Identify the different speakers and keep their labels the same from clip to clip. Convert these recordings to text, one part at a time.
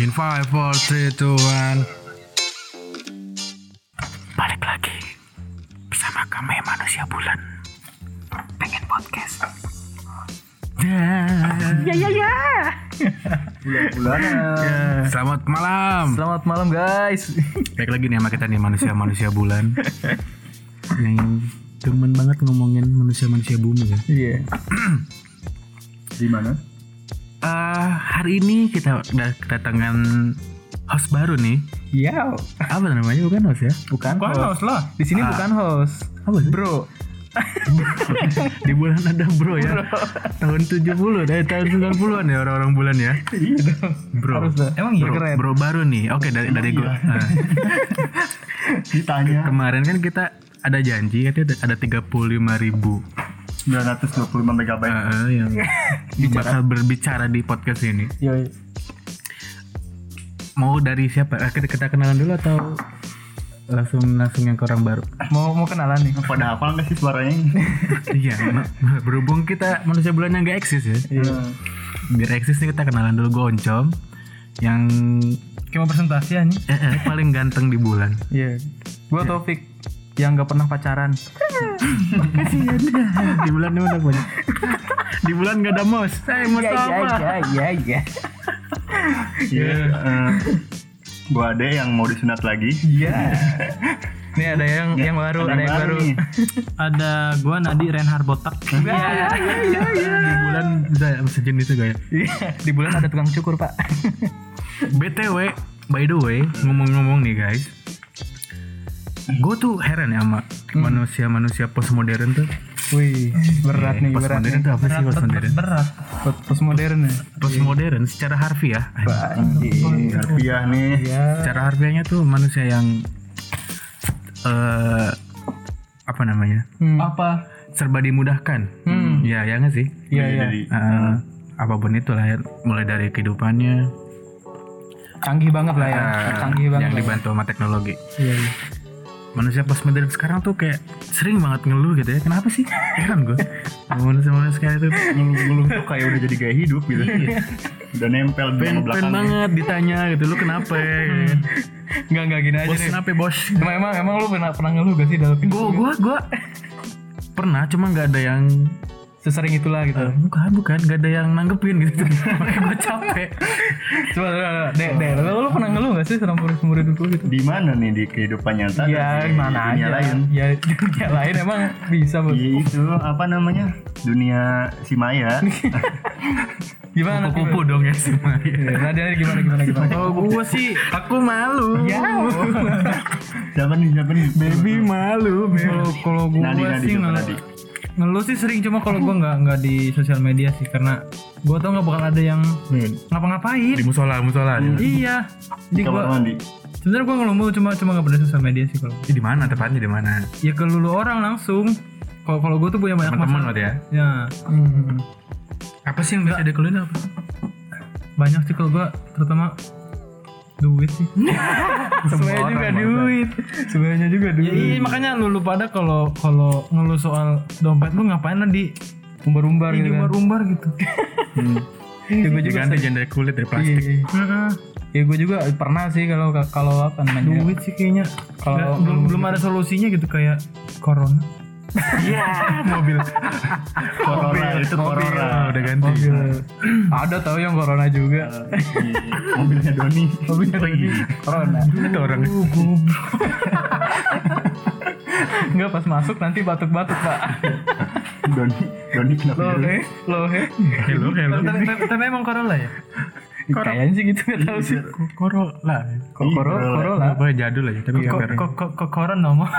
Speaker 1: In 5, 4, 3, 2, 1
Speaker 2: Balik lagi bersama kami manusia bulan pengen podcast.
Speaker 3: Ya ya ya.
Speaker 4: Bulanan.
Speaker 1: Selamat malam
Speaker 4: Selamat malam guys.
Speaker 2: Balik lagi nih sama kita nih manusia manusia bulan yang demen banget ngomongin manusia manusia bumi ya.
Speaker 4: Iya. Di mana?
Speaker 2: Eh, hari ini kita udah kedatangan host baru nih.
Speaker 4: Ya,
Speaker 2: Apa namanya bukan host ya?
Speaker 4: bukan
Speaker 1: Bukan
Speaker 4: host.
Speaker 1: host lah
Speaker 4: Di sini
Speaker 2: Ah.
Speaker 4: bukan host.
Speaker 2: Apa sih?
Speaker 4: Bro,
Speaker 2: Di bulan ada bro ya. Tahun 70 dari tahun 90-an ya orang-orang bulan ya.
Speaker 1: Iya
Speaker 2: Bro.
Speaker 4: harus dah.
Speaker 1: Emang iya?
Speaker 2: Bro,
Speaker 4: Keren.
Speaker 2: bro baru nih. Oke dari dari gua. eh.
Speaker 1: Ditanya
Speaker 2: Kemarin kan kita ada janji katanya ada 35 ribu eh,
Speaker 1: 925 MB
Speaker 2: yang bakal berbicara di podcast ini.
Speaker 4: Yoi.
Speaker 2: Mau dari siapa? Eh, Kita, kita kenalan dulu atau langsung langsung yang ke orang baru?
Speaker 4: Mau mau kenalan nih.
Speaker 1: Pada hafal gak sih suaranya?
Speaker 2: iya, ma- berhubung kita manusia bulan yang gak eksis ya.
Speaker 4: Iya.
Speaker 1: Hmm.
Speaker 2: Biar eksis nih kita kenalan dulu gue Oncom yang
Speaker 4: Kayak mau presentasi ya, anjing.
Speaker 2: eh, eh, paling ganteng di bulan.
Speaker 4: Iya. Gua Taufik yang gak pernah pacaran.
Speaker 2: di bulan ini udah banyak. Di bulan gak ada mos. Eh, mos apa?
Speaker 4: iya iya.
Speaker 1: Iya eh, Gua ade yang mau disunat lagi Iya,
Speaker 4: Iya. Nih ada yang yang baru, ada yang baru.
Speaker 1: nih.
Speaker 5: ada gua Nadi Renhard Botak
Speaker 4: Iya,
Speaker 2: Di bulan bisa sejenis itu gak ya?
Speaker 4: Iya, di bulan ada tukang cukur, Pak.
Speaker 2: BTW, by the way, ngomong-ngomong nih guys, gue tuh heran ya sama
Speaker 4: Hmm.
Speaker 2: manusia-manusia postmodern tuh.
Speaker 4: Wih, berat nih, Iya,
Speaker 2: postmodern
Speaker 4: berat nih.
Speaker 2: tuh apa sih postmodern?
Speaker 5: berat
Speaker 4: Postmodern ya.
Speaker 2: Postmodern secara harfiah,
Speaker 1: Iya, Harfiah nih
Speaker 4: Iya.
Speaker 2: secara harfiahnya tuh manusia yang eh apa namanya
Speaker 4: Hmm.
Speaker 5: apa
Speaker 2: serba dimudahkan.
Speaker 1: Hmm.
Speaker 2: Ya, ya nggak sih?
Speaker 4: Iya, iya.
Speaker 1: Jadi
Speaker 2: Eh, apapun itu lah, ya. mulai dari kehidupannya,
Speaker 4: Canggih banget lah ya.
Speaker 1: Ah,
Speaker 2: eh,
Speaker 4: Canggih banget.
Speaker 2: yang
Speaker 4: lah ya.
Speaker 2: dibantu sama teknologi.
Speaker 4: Iya, iya.
Speaker 2: manusia postmodern sekarang tuh kayak sering banget ngeluh gitu ya kenapa sih heran gue manusia manusia sekarang itu
Speaker 1: ngeluh-ngeluh tuh kayak udah jadi gaya hidup gitu Udah nempel di
Speaker 2: pengen
Speaker 1: Hmm.
Speaker 2: pengen
Speaker 1: belakang
Speaker 2: banget ditanya gitu lu kenapa ya?
Speaker 4: Enggak, enggak gini aja
Speaker 2: bos
Speaker 4: deh.
Speaker 2: kenapa ya, bos
Speaker 4: Emang, emang, emang lu pernah, pernah ngeluh gak sih dalam
Speaker 2: gue gue gue pernah cuma nggak ada yang
Speaker 4: Sesering itulah gitu.
Speaker 1: Ah.
Speaker 2: bukan bukan nggak ada yang nanggepin gitu makanya gue capek
Speaker 4: Coba, coba, coba. Dek, dek. Lu, lu pernah ngeluh gak sih sama murid-murid itu gitu?
Speaker 1: Di mana nih di kehidupan nyata
Speaker 4: Ya,
Speaker 1: dan di
Speaker 4: gimana
Speaker 1: dunia
Speaker 4: aja.
Speaker 1: lain
Speaker 4: Ya, di dunia lain emang bisa, Bos.
Speaker 1: Iya, itu apa namanya dunia si Maya
Speaker 4: Gimana?
Speaker 2: kupu dong ya semua
Speaker 4: Iya, Nadia, Nadia, gimana, gimana, gimana?
Speaker 2: kalau gue Oh, sih aku malu
Speaker 4: Ya,
Speaker 1: siapa nih siapa nih
Speaker 2: baby malu baby.
Speaker 5: kalau kalau gua
Speaker 1: Nadi Nadi
Speaker 5: sih
Speaker 1: coba
Speaker 5: ngeluh
Speaker 1: Nadi
Speaker 5: ngeluh sih sering cuma kalau gua nggak nggak di sosial media sih karena gua tau nggak bakal ada yang ngapa-ngapain
Speaker 2: di musola musola aja.
Speaker 5: iya jadi
Speaker 1: kamar
Speaker 5: gua
Speaker 1: mandi
Speaker 5: sebenarnya gua ngeluh mulu, cuma cuma nggak pada sosial media sih kalau gua.
Speaker 2: di mana tempatnya di mana
Speaker 5: ya ke lulu orang langsung kalau kalau gua tuh punya banyak
Speaker 2: teman-teman
Speaker 5: masalah
Speaker 2: waktu ya
Speaker 5: ya
Speaker 4: Hmm.
Speaker 2: apa sih yang biasa dikeluhin apa
Speaker 5: banyak sih kalau gua terutama duit sih
Speaker 4: Semuanya juga duit. Semuanya juga
Speaker 5: Ya, iya,
Speaker 4: duit.
Speaker 5: makanya lu lupa ada kalau kalau ngeluh soal dompet lu ngapain lah di
Speaker 2: Iya
Speaker 4: Umbar-umbar
Speaker 5: di
Speaker 4: gitu kan.
Speaker 5: umbar-umbar Iya, gitu.
Speaker 4: Ya, gua juga
Speaker 2: diganti jangan dari kulit dari plastik
Speaker 4: Iya, iya.
Speaker 5: Heeh.
Speaker 4: Ya gue juga pernah sih kalau kalau apa namanya?
Speaker 5: duit sih kayaknya
Speaker 4: Kalau
Speaker 5: Nggak, belum
Speaker 4: belum
Speaker 5: belum ada solusinya gitu kayak corona
Speaker 4: Iya,
Speaker 1: corona itu corona
Speaker 2: Ah, udah ganti
Speaker 4: mobil.
Speaker 5: Nah.
Speaker 4: ada tau yang corona juga.
Speaker 5: Eh,
Speaker 1: Iya, mobilnya Doni
Speaker 4: Mobilnya Doni. corona.
Speaker 2: itu orang
Speaker 4: Enggak pas masuk nanti batuk-batuk, Pak.
Speaker 1: Doni Doni Iya. kenapa
Speaker 4: Loh,
Speaker 1: jadi-
Speaker 4: eh, loh, eh.
Speaker 2: hello hello
Speaker 5: tapi, tapi- tapi emang corona ya
Speaker 4: Kayaknya sih gitu enggak tahu sih.
Speaker 2: koro lah
Speaker 4: Kok corona,
Speaker 1: Iya,
Speaker 4: corona.
Speaker 2: apa ya, jadul aja tapi
Speaker 5: kok
Speaker 2: kabar
Speaker 5: kok kok kok corona mau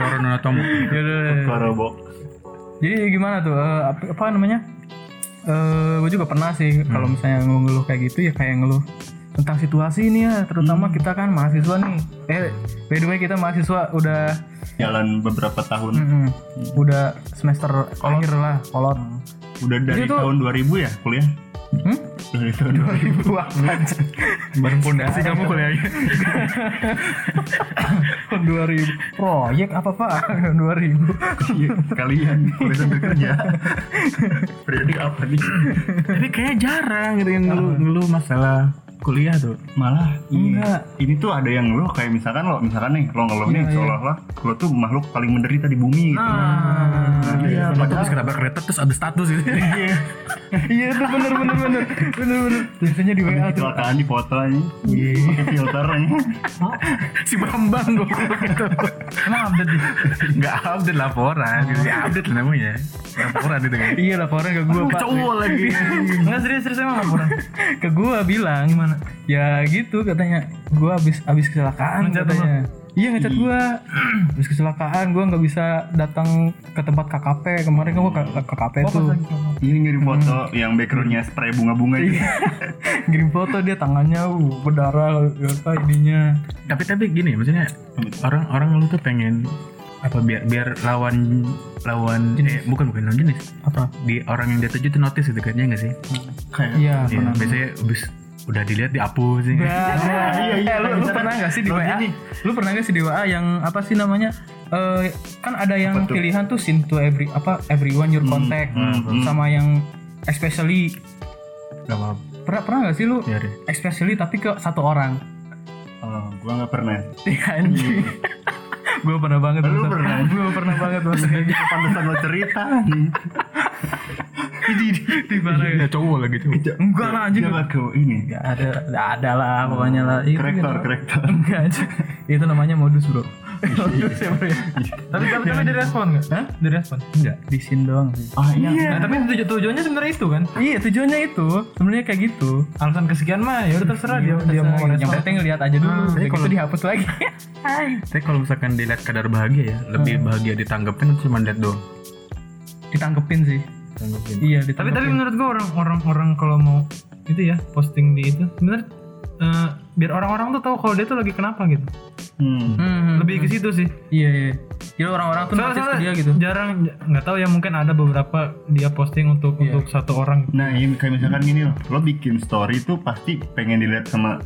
Speaker 2: corona tom
Speaker 4: Ya udah, udah, udah.
Speaker 1: korobok
Speaker 4: Jadi gimana tuh? eh, apa, apa namanya? Eh, gue juga pernah sih
Speaker 1: Hmm.
Speaker 4: kalau misalnya ngeluh kayak gitu ya kayak ngeluh tentang situasi ini ya,
Speaker 1: Hmm.
Speaker 4: terutama kita kan mahasiswa nih. Eh, by the way kita mahasiswa udah
Speaker 1: jalan beberapa tahun
Speaker 4: Mm-mm. Udah semester akhir lah, kolot.
Speaker 1: Hmm. udah dari
Speaker 4: Itu tuh-
Speaker 1: tahun 2000 ya kuliah
Speaker 4: Hmm?
Speaker 1: dari tahun
Speaker 4: 2000 an
Speaker 2: bareng pondasi kamu
Speaker 1: ya.
Speaker 2: kuliahnya
Speaker 4: 2000. Proyek apa, Pak? 2000.
Speaker 1: 2000 kalian kuliah Iya, sambil kerja periode apa nih
Speaker 2: tapi kayak jarang gitu yang ngeluh ngeluh masalah kuliah tuh
Speaker 1: malah ini,
Speaker 4: Enggak.
Speaker 1: ini tuh ada yang lo kayak misalkan lo misalkan nih lo ngeluh nih seolah-olah lo tuh makhluk paling menderita di bumi gitu. Iya,
Speaker 6: Ah,
Speaker 1: Nah, iya,
Speaker 2: Iya,
Speaker 1: padahal-
Speaker 2: terus kenapa kereta terus ada status gitu.
Speaker 1: iya.
Speaker 4: iya tuh bener bener bener bener bener biasanya di WA tuh
Speaker 1: kecelakaan di foto ini pakai filter ini
Speaker 2: si Bambang gue gitu.
Speaker 6: Emang update di Oh.
Speaker 2: Enggak update laporan, gitu. Ya, update namanya. Laporan itu kan.
Speaker 4: iya laporan ke gue pak
Speaker 2: Cowok lagi.
Speaker 6: Enggak serius-serius emang laporan.
Speaker 4: ke gue bilang gimana ya gitu katanya gue abis abis kecelakaan
Speaker 6: Ngecat
Speaker 4: katanya iya ngecat gue abis kecelakaan gue nggak bisa datang ke tempat KKP kemarin kan gue ke, ke KKP tuh
Speaker 1: ini ngirim foto yang backgroundnya spray bunga-bunga gitu
Speaker 4: ngirim foto dia tangannya uh, berdarah apa ininya
Speaker 2: tapi tapi gini, maksudnya orang-orang lu tuh pengen apa biar biar lawan lawan eh, bukan bukan lawan jenis
Speaker 4: apa
Speaker 2: di orang yang jatuh itu notice gitu kan ya nggak sih
Speaker 1: kayak
Speaker 4: iya
Speaker 2: Iya,
Speaker 4: pernah
Speaker 2: biasanya abis udah dilihat dihapus ya kan? sih
Speaker 4: Iya,
Speaker 1: iya,
Speaker 4: iya,
Speaker 1: iya.
Speaker 4: lu, lu pernah gak sih di
Speaker 1: Loh,
Speaker 4: WA?
Speaker 1: gini.
Speaker 4: Lu pernah gak sih di WA yang apa sih namanya? Eh kan ada yang
Speaker 1: Apa tuh?
Speaker 4: pilihan tuh send to every apa everyone your contact
Speaker 1: hmm,
Speaker 4: sama yang especially
Speaker 2: nggak apa
Speaker 4: pernah pernah gak sih lu
Speaker 1: Ya.
Speaker 2: biar
Speaker 4: especially tapi ke satu orang
Speaker 1: oh, gua nggak pernah
Speaker 4: ya anjing gue pernah banget
Speaker 1: Iya, Lu pernah?
Speaker 4: gue pernah banget maksudnya
Speaker 1: Iya. pantesan lo cerita nih
Speaker 2: ya cowok lagi tuh
Speaker 4: enggak lah anjing
Speaker 1: coba ke Iya, ini
Speaker 4: Gak ada gak ada lah
Speaker 1: Hmm,
Speaker 4: pokoknya lah Itu
Speaker 1: korektor
Speaker 4: gitu.
Speaker 1: korektor
Speaker 4: enggak anjing. itu namanya modus bro
Speaker 1: Iya,
Speaker 4: modus ya bro ya
Speaker 6: Tapi tapi tapi direspon enggak? Hah? Direspon.
Speaker 4: enggak di scene doang sih
Speaker 1: ah iya
Speaker 6: Nah, tapi tuju tujuannya sebenarnya itu kan.
Speaker 4: Iya tujuannya itu sebenarnya kayak gitu.
Speaker 6: Alasan kesekian mah ya udah terserah dia dia mau
Speaker 4: Iya, yang
Speaker 6: respon.
Speaker 4: penting ngeliat aja dulu.
Speaker 2: Hmm,
Speaker 4: udah
Speaker 2: jadi
Speaker 4: gitu
Speaker 2: kalau-
Speaker 4: dihapus lagi.
Speaker 2: Tapi kalau misalkan dilihat kadar bahagia ya, lebih bahagia ditanggepin atau cuma lihat doang?
Speaker 4: ditangkepin sih.
Speaker 2: Tanggepin.
Speaker 4: Iya
Speaker 6: Tapi
Speaker 4: ditangkepin.
Speaker 6: tapi menurut gua orang orang orang kalau mau itu ya posting di itu sebenarnya eh, biar orang-orang tuh tahu kalau dia tuh lagi kenapa gitu.
Speaker 1: hmm.
Speaker 4: Hmm,
Speaker 6: Lebih ke situ sih.
Speaker 4: Iya iya. Jadi orang-orang tuh
Speaker 6: Soalnya,
Speaker 4: notice ke
Speaker 6: soalnya
Speaker 4: dia gitu.
Speaker 6: jarang nggak tahu ya mungkin ada beberapa dia posting untuk
Speaker 4: Iya.
Speaker 6: untuk satu orang.
Speaker 1: Nah, ini kayak misalkan gini loh, lo bikin story itu pasti pengen dilihat sama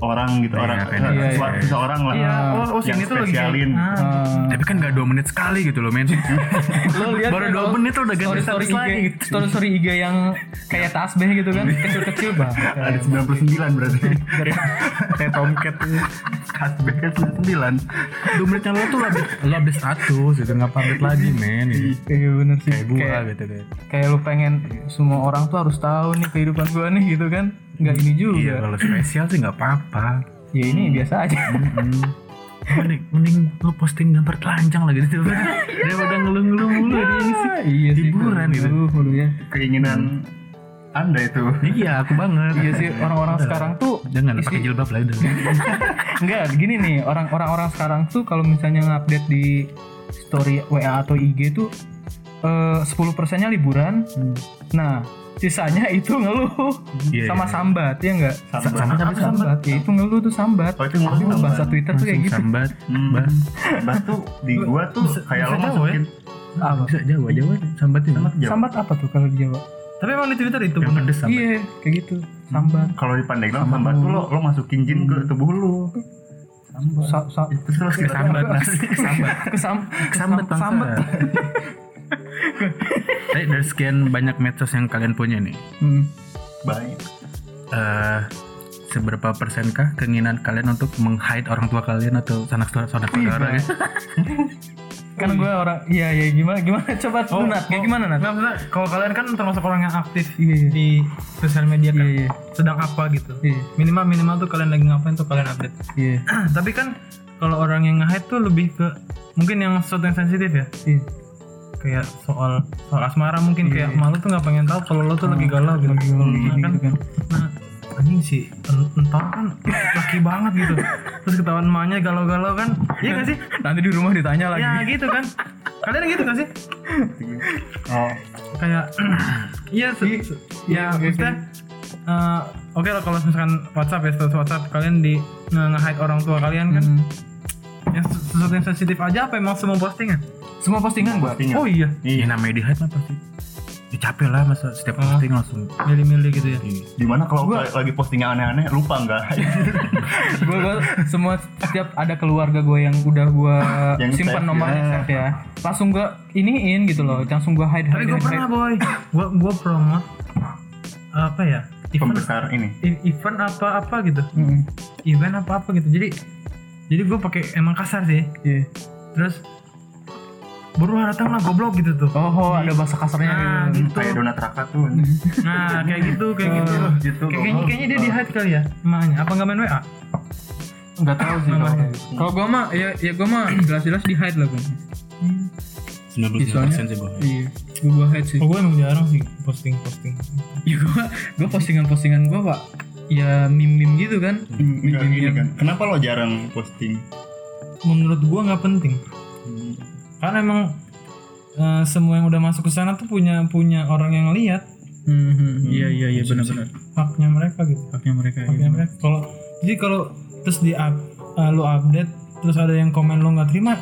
Speaker 1: orang gitu,
Speaker 2: Iya,
Speaker 1: orang
Speaker 2: pengen
Speaker 1: eh,
Speaker 2: dilihat.
Speaker 1: suatu seorang lah.
Speaker 6: Iya,
Speaker 2: Ah,
Speaker 6: oh, oh,
Speaker 1: yang
Speaker 6: sini tuh lagi kayak-
Speaker 1: spesialin.
Speaker 6: Ah.
Speaker 4: Ah.
Speaker 2: Tapi kan nggak dua menit sekali gitu loh men.
Speaker 4: Lo lihat
Speaker 2: Baru
Speaker 4: kan,
Speaker 2: dua
Speaker 4: lo
Speaker 2: menit udah ganti
Speaker 4: story story
Speaker 2: status
Speaker 4: IG,
Speaker 2: lagi.
Speaker 4: story story IG yang kayak tasbih gitu kan, kecil-kecil bang.
Speaker 1: Ada 99 berarti.
Speaker 2: Kayak tomcat tuh.
Speaker 1: Kasbeknya 99.
Speaker 2: Dua menitnya lo tuh lo update, lo update status gitu, nggak update lagi men. Gitu.
Speaker 4: Iya bener sih.
Speaker 2: Kayak gua
Speaker 4: Kayak-
Speaker 2: gitu deh.
Speaker 4: kayak lu pengen semua orang tuh harus tahu nih kehidupan gua nih gitu kan. Enggak ini
Speaker 2: Iya
Speaker 4: juga.
Speaker 2: kalau spesial sih nggak apa-apa.
Speaker 4: Ya ini biasa aja.
Speaker 2: Hmm. Mending, mending lo posting gambar telanjang lagi gitu. Daripada ngeluh-ngeluh mulu di ini sih.
Speaker 4: Ah, iya sih.
Speaker 2: Hiburan gitu.
Speaker 4: Aduh, aduh ya.
Speaker 1: Keinginan
Speaker 2: Hmm.
Speaker 1: Anda itu.
Speaker 2: Iya aku banget.
Speaker 4: Iya sih orang-orang sekarang tuh
Speaker 2: Jangan pakai jilbab lah udah.
Speaker 4: enggak gini nih orang-orang orang sekarang tuh kalau misalnya ngupdate di story WA atau IG tuh eh, 10 persennya liburan. Nah sisanya itu ngeluh
Speaker 2: Iya,
Speaker 4: sama
Speaker 2: iya.
Speaker 4: sambat ya enggak
Speaker 1: Sambat.
Speaker 4: sambat, sambat. Ya, itu ngeluh tuh sambat
Speaker 1: Oh, itu ngeluh
Speaker 4: Aduh,
Speaker 1: sambat.
Speaker 4: bahasa Twitter tuh kayak
Speaker 2: Langsung
Speaker 4: gitu
Speaker 2: sambat.
Speaker 1: Hmm.
Speaker 2: Bah.
Speaker 1: Bah tuh di gua tuh kayak lo
Speaker 6: bisa jauh ya?
Speaker 1: masukin
Speaker 4: Apa?
Speaker 2: Bisa Jawa, Jawa sambat ini.
Speaker 1: Jauh.
Speaker 4: sambat apa tuh kalau di Jawa
Speaker 6: Tapi emang di Twitter itu
Speaker 2: Yang
Speaker 6: bener.
Speaker 2: pedes sambat.
Speaker 4: iya kayak gitu sambat
Speaker 1: Kalau di Pandeglang sambat tuh lo lo masukin jin
Speaker 2: Hmm.
Speaker 1: ke tubuh lu.
Speaker 4: Hmm. Sa- sa-
Speaker 1: Terus lo sekitar
Speaker 2: Sambat nasi. Sambat.
Speaker 4: kesam
Speaker 2: Sambat
Speaker 4: kesam- sambat
Speaker 2: bangsa. Eh, dari sekian banyak medsos yang kalian punya nih,
Speaker 4: Hmm.
Speaker 1: Baik.
Speaker 2: eh seberapa persenkah keinginan kalian untuk meng-hide orang tua kalian atau sanak saudara
Speaker 6: Iya,
Speaker 2: sanak saudara ya?
Speaker 4: kan gue orang iya iya gimana gimana coba
Speaker 6: Oh,
Speaker 4: lu Nat kayak gimana Nat
Speaker 6: Nggak, maksudnya kalau kalian kan termasuk orang yang aktif
Speaker 4: Iya, iya.
Speaker 6: di sosial media kan.
Speaker 4: Iya, iya.
Speaker 6: Sedang apa gitu.
Speaker 4: Iya.
Speaker 6: Minimal minimal tuh kalian lagi ngapain tuh kalian update.
Speaker 4: iya
Speaker 6: Tapi kan kalau orang yang nge-hide tuh lebih ke mungkin yang sesuatu yang sensitif ya.
Speaker 4: iya
Speaker 6: Kayak soal soal asmara mungkin kayak malu tuh nggak pengen tahu kalau lo tuh
Speaker 4: Oh,
Speaker 6: lagi galau gitu. Nah, kan, nah, anjing sih en- entar kan laki banget gitu. Terus ketahuan emaknya galau-galau kan. Iya gak sih?
Speaker 4: nanti di rumah ditanya lagi
Speaker 6: Ya gitu kan. Kalian gitu gak sih?
Speaker 1: Oh,
Speaker 6: kayak iya se- se- ya maksudnya eh, oke lah kalau misalkan WhatsApp ya status WhatsApp kalian di nge- nge-hide orang tua kalian kan
Speaker 4: Hmm.
Speaker 6: yang ses- sesuatu yang sensitif aja apa emang semua postingan
Speaker 4: semua postingan gua
Speaker 1: postingan.
Speaker 6: oh iya
Speaker 2: Ya
Speaker 1: Iya.
Speaker 2: namanya di hide mah pasti. Ya capek lah masa setiap
Speaker 6: Ah.
Speaker 2: posting langsung.
Speaker 6: milih-milih gitu ya
Speaker 1: Dimana kalau lagi posting yang aneh-aneh lupa nggak?
Speaker 4: gua, gua semua setiap ada keluarga gua yang udah gua
Speaker 1: Yang
Speaker 4: simpan
Speaker 1: save,
Speaker 4: nomornya
Speaker 1: ya.
Speaker 4: save ya langsung gua iniin gitu loh langsung gua hide
Speaker 6: tapi
Speaker 4: hide,
Speaker 6: gue
Speaker 4: hide,
Speaker 6: pernah
Speaker 4: hide.
Speaker 6: boy gue gue promote apa ya
Speaker 1: pembesar ini
Speaker 6: e- event apa apa gitu
Speaker 4: Mm-mm.
Speaker 6: event apa apa gitu jadi jadi gue pakai emang kasar sih
Speaker 4: Iya.
Speaker 6: terus baru datang lah goblok gitu tuh
Speaker 4: Oh, oh, ada bahasa kasarnya
Speaker 6: nah
Speaker 2: Ah,
Speaker 4: gitu.
Speaker 6: gitu
Speaker 1: kayak donat raka tuh
Speaker 2: Mhm.
Speaker 6: nah kayak gitu kayak gitu
Speaker 1: gitu
Speaker 6: Kayak- kayaknya kayaknya dia di hide kali ya emaknya apa nggak main wa
Speaker 4: Enggak tahu sih
Speaker 6: Nggak
Speaker 4: kalau
Speaker 6: tahu.
Speaker 4: Kalau gua mah ya ya gua mah jelas-jelas di hide lah kan.
Speaker 2: 99% sih gue
Speaker 4: Iya. Gua hide sih.
Speaker 6: oh, gue emang jarang sih posting posting
Speaker 4: Ya gua gua postingan-postingan gua, Pak. Ya meme-meme gitu kan.
Speaker 1: Enggak gini kan kenapa lo jarang posting
Speaker 6: menurut gue nggak penting karena emang eh, semua yang udah masuk ke sana tuh punya punya orang yang lihat
Speaker 4: Hmm, iya iya iya benar-benar.
Speaker 6: haknya mereka gitu
Speaker 4: Haknya mereka.
Speaker 6: haknya mereka kalau jadi kalau terus di up, eh, lu update terus ada yang komen lu nggak terima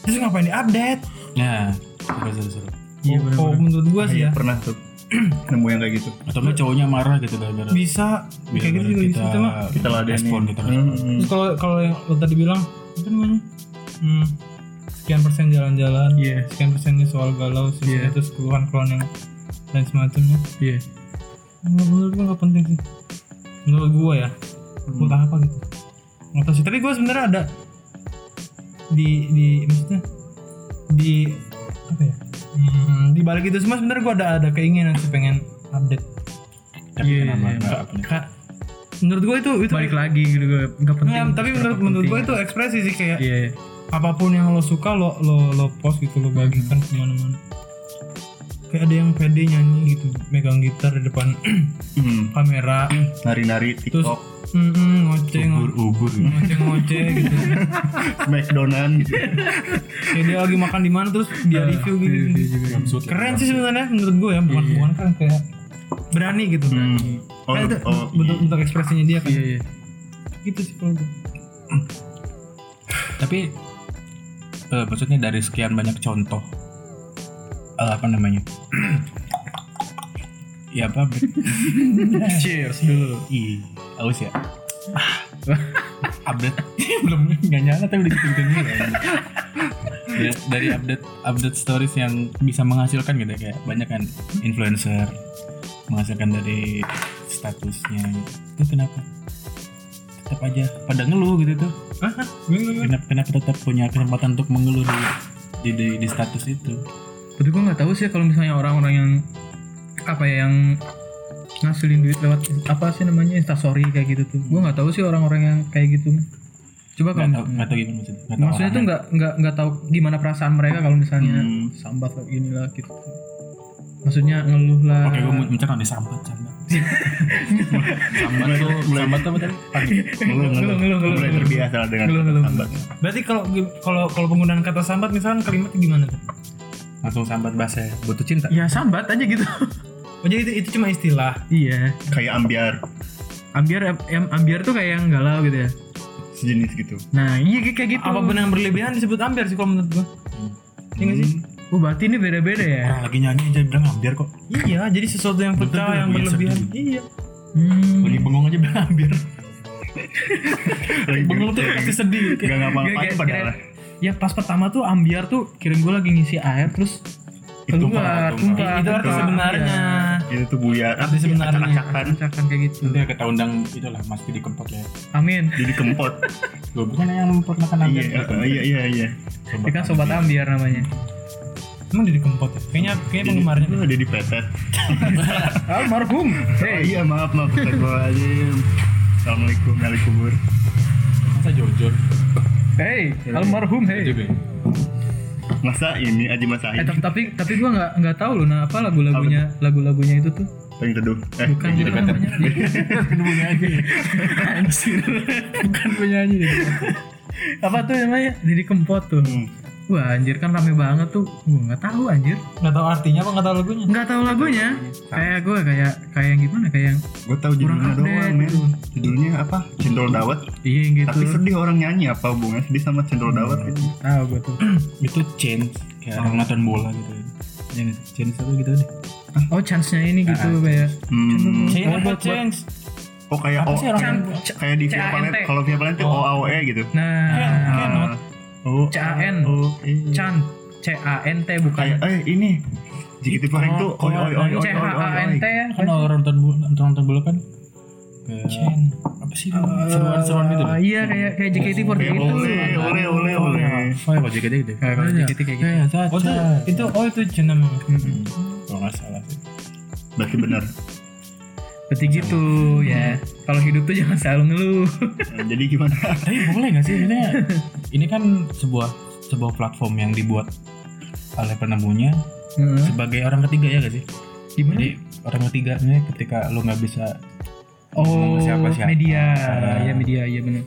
Speaker 6: terus ngapain di update
Speaker 2: Nah Seru seru seru
Speaker 6: iya, oh, menurut gue sih ya
Speaker 1: pernah tuh nemu yang kayak gitu
Speaker 2: Atau enggak cowoknya marah gitu Gara-gara
Speaker 6: bisa Iya. kayak gitu juga bisa cuma
Speaker 1: kita ladenin.
Speaker 2: respon gitu
Speaker 6: Iya.
Speaker 2: kan. kita
Speaker 1: Hmm.
Speaker 6: terus kalau kalau yang lu tadi bilang apa namanya hmm, sekian persen jalan-jalan
Speaker 4: Iya.
Speaker 6: sekian persennya soal galau
Speaker 4: Iya.
Speaker 6: sekian terus keluhan-keluhan yang lain semacamnya
Speaker 4: Iya.
Speaker 6: Menurut menurut gue gak penting sih Menurut gue ya
Speaker 4: Hmm.
Speaker 6: Entah apa gitu Gak tau sih Tapi gue sebenarnya ada Di Di Maksudnya Di Apa ya hmm, Di balik itu semua sebenarnya gue ada Ada keinginan sih pengen Update
Speaker 2: Tapi kenapa enggak
Speaker 6: Kak Menurut gue itu itu
Speaker 4: iya, Balik lagi gitu gua enggak penting.
Speaker 6: Nggak, Iya, tapi menurut menurut gue itu ekspresi sih kayak
Speaker 4: Iya. iya.
Speaker 6: apapun yang lo suka lo lo lo post gitu lo bagikan kemana-mana kayak ada yang pede nyanyi gitu megang gitar di depan
Speaker 1: Hmm.
Speaker 6: kamera
Speaker 1: nari-nari
Speaker 6: terus
Speaker 1: tiktok
Speaker 6: mm -mm, ngoceh ngo-
Speaker 2: Ubur-ubur
Speaker 4: um.
Speaker 2: gitu.
Speaker 6: ngoceh-ngoceh gitu
Speaker 1: smackdownan gitu
Speaker 6: kayak dia lagi makan di mana terus dia
Speaker 4: Ah,
Speaker 6: review gitu,
Speaker 4: iya,
Speaker 6: keren sih sebenarnya menurut gue ya bukan bukan keren kayak berani gitu
Speaker 2: Eh,
Speaker 1: Hmm. oh,
Speaker 6: Nah, itu
Speaker 1: oh,
Speaker 6: bentuk bentuk ekspresinya dia kan
Speaker 4: Iya iya.
Speaker 6: gitu sih kalau gue
Speaker 2: Tapi eh, Maksudnya dari sekian banyak contoh eh, Apa namanya Ya apa
Speaker 4: Cheers dulu.
Speaker 2: Ih, aus ya. Ah. update belum nggak nyala tapi udah dikirim dulu. ya, dari update update stories yang bisa menghasilkan gitu ya, kayak banyak kan influencer menghasilkan dari statusnya gitu. itu kenapa tetap aja pada ngeluh gitu tuh kenapa kenapa tetap punya kesempatan untuk mengeluh di di, di, di status itu
Speaker 4: Tapi gua nggak tahu sih kalau misalnya orang-orang yang apa ya yang ngasilin duit lewat apa sih namanya instastory kayak gitu tuh. Gua nggak tahu sih orang-orang yang kayak gitu. Coba
Speaker 2: nggak
Speaker 4: kalau
Speaker 2: tahu nggak tahu gimana maksudnya nggak tahu
Speaker 4: Hmm, maksudnya tuh
Speaker 2: orangnya.
Speaker 4: nggak nggak nggak tahu gimana perasaan mereka kalau misalnya
Speaker 1: Hmm.
Speaker 4: sambat lah gini lah gitu maksudnya ngeluh lah
Speaker 2: Oke, gue mencerna nih sambat, sambat. Hmm. sambat tuh, sambat tuh apa tadi?
Speaker 1: ngeluh ngeluh
Speaker 4: ngeluh, ngeluh.
Speaker 1: mulai terbiasa iya, dengan
Speaker 4: Ngeluh, ngeluh.
Speaker 1: sambat.
Speaker 6: berarti kalau kalau kalau penggunaan kata sambat misalkan kalimatnya gimana tuh
Speaker 2: Langsung sambat bahasa butuh cinta.
Speaker 4: ya sambat aja gitu
Speaker 6: oh jadi itu, itu cuma istilah
Speaker 4: iya
Speaker 1: kayak ambiar
Speaker 4: ambiar em, ambiar tuh kayak yang galau gitu ya
Speaker 1: sejenis gitu
Speaker 4: nah iya kayak kayak gitu
Speaker 6: apapun yang berlebihan disebut ambiar sih kalau menurut gue Iya nggak sih?
Speaker 4: oh berarti ini beda beda ya
Speaker 2: Orang Eh, lagi nyanyi aja bilang ambiar kok.
Speaker 6: Iya, jadi sesuatu yang pecah yang berlebihan. Iya.
Speaker 4: hmm.
Speaker 2: Lagi bengong aja bilang ambiar.
Speaker 1: lagi
Speaker 2: Bengong tuh pasti sedih.
Speaker 1: gak ngapa-ngapain
Speaker 4: Kayak-
Speaker 1: padahal
Speaker 4: kayak- ya pas pertama tuh ambiar tuh kirim gue lagi ngisi air terus
Speaker 2: Ditumpah,
Speaker 4: keluar tumpah
Speaker 6: itu arti
Speaker 4: tumpah.
Speaker 6: sebenarnya.
Speaker 1: itu tuh buaya
Speaker 6: Arti sebenarnya.
Speaker 1: acak-acakan
Speaker 4: Acakan kayak gitu
Speaker 2: Nanti kita undang itulah Mas Didi Kempot ya.
Speaker 4: amin
Speaker 1: jadi kempot
Speaker 2: Gue bukan yang kan? memperkenalkan
Speaker 1: iya
Speaker 2: ambiar. gitu.
Speaker 1: eh, iya iya iya
Speaker 4: dia kan sobat ambiar namanya
Speaker 6: Emang jadi kempot ya? Kayaknya kayaknya penggemarnya.
Speaker 1: Jadi- jadi petet
Speaker 4: almarhum
Speaker 1: oh iya maaf maaf petet bawa aja assalamualaikum waalaikumsalam
Speaker 2: Masa jujur.
Speaker 4: hey almarhum hey
Speaker 2: Juga.
Speaker 1: masa ini aja masa
Speaker 4: Eh,
Speaker 1: ini
Speaker 4: tapi tapi, tapi gue nggak nggak tahu loh, nah apa lagu-lagunya lagu-lagunya itu tuh
Speaker 1: pengen teduh eh
Speaker 4: bukan apa namanya? Anjir.
Speaker 2: Kan penyanyi.
Speaker 4: apa tuh namanya? Didi Kempot tuh.
Speaker 1: Hmm.
Speaker 4: Wah anjir kan rame banget tuh. Gue nggak tahu anjir.
Speaker 6: Enggak tahu artinya apa enggak tahu lagunya.
Speaker 4: Nggak tahu lagunya. Kayak gue kayak kayak yang gimana kayak yang
Speaker 1: gue tahu
Speaker 4: kurang
Speaker 1: judulnya
Speaker 4: update
Speaker 1: doang men
Speaker 4: gitu.
Speaker 1: judulnya apa cendol dawet
Speaker 4: Iya yang gitu.
Speaker 1: tapi sedih orang nyanyi apa hubungannya sedih sama cendol dawet gitu
Speaker 4: Tahu gue tuh.
Speaker 2: Itu change kayak orang nonton bola gitu. Ya nggak sih? change apa gitu deh.
Speaker 4: Oh chance-nya ini gitu
Speaker 1: Ah,
Speaker 4: kayak.
Speaker 1: hmm.
Speaker 6: Change
Speaker 4: Oh,
Speaker 6: apa
Speaker 4: buat- buat-
Speaker 6: Iya, change?
Speaker 1: oh kayak oh,
Speaker 4: Kan
Speaker 1: kayak di Via Valen kalau Via Valen
Speaker 4: Oh.
Speaker 1: tuh OAOE gitu
Speaker 4: nah
Speaker 1: Ah, oh
Speaker 4: CAN.
Speaker 1: oh, iya.
Speaker 4: Chan C A N T bukan
Speaker 1: kayak eh ini JKT48 tuh oi oi oi
Speaker 4: Oh,
Speaker 1: oi
Speaker 4: C H
Speaker 1: oi
Speaker 4: A
Speaker 1: oi
Speaker 4: N T
Speaker 1: oi.
Speaker 4: ya
Speaker 2: kan orang nonton bu- nonton nonton bola kan kayak apa sih seruan seruan gitu
Speaker 4: Eh, iya kayak kayak JKT48
Speaker 1: Kayak
Speaker 4: gitu
Speaker 1: Ole E, ole ole ole.
Speaker 2: oh ya baju gede deh
Speaker 4: Kayak JKT kayak gitu
Speaker 2: kayak
Speaker 6: Oh itu, itu oh itu jenam.
Speaker 2: kalau nggak salah sih
Speaker 1: Berarti benar.
Speaker 4: berarti gitu ya kalau hidup tuh jangan selalu ngeluh
Speaker 1: Eh, Jadi gimana?
Speaker 2: tapi boleh nggak sih maksudnya ini kan sebuah sebuah platform yang dibuat oleh penemunya
Speaker 4: Heeh.
Speaker 2: sebagai orang ketiga ya gak sih
Speaker 4: gimana
Speaker 2: jadi orang ketiga nih ketika lu nggak bisa
Speaker 4: oh
Speaker 2: ngomong ke siapa-siapa.
Speaker 4: media
Speaker 2: Ah.
Speaker 4: ya media ya benar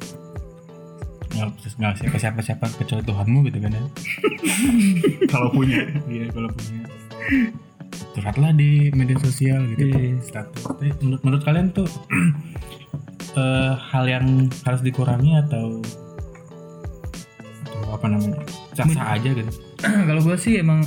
Speaker 2: nggak nggak siapa siapa siapa kecuali Tuhanmu gitu kan ya
Speaker 1: Kalau punya.
Speaker 2: iya kalau punya curhatlah di media sosial gitu
Speaker 4: Iya.
Speaker 2: status Tapi menurut menurut kalian tuh eh, hal yang harus dikurangi atau atau apa namanya sah sah aja gitu
Speaker 4: kalau gue sih emang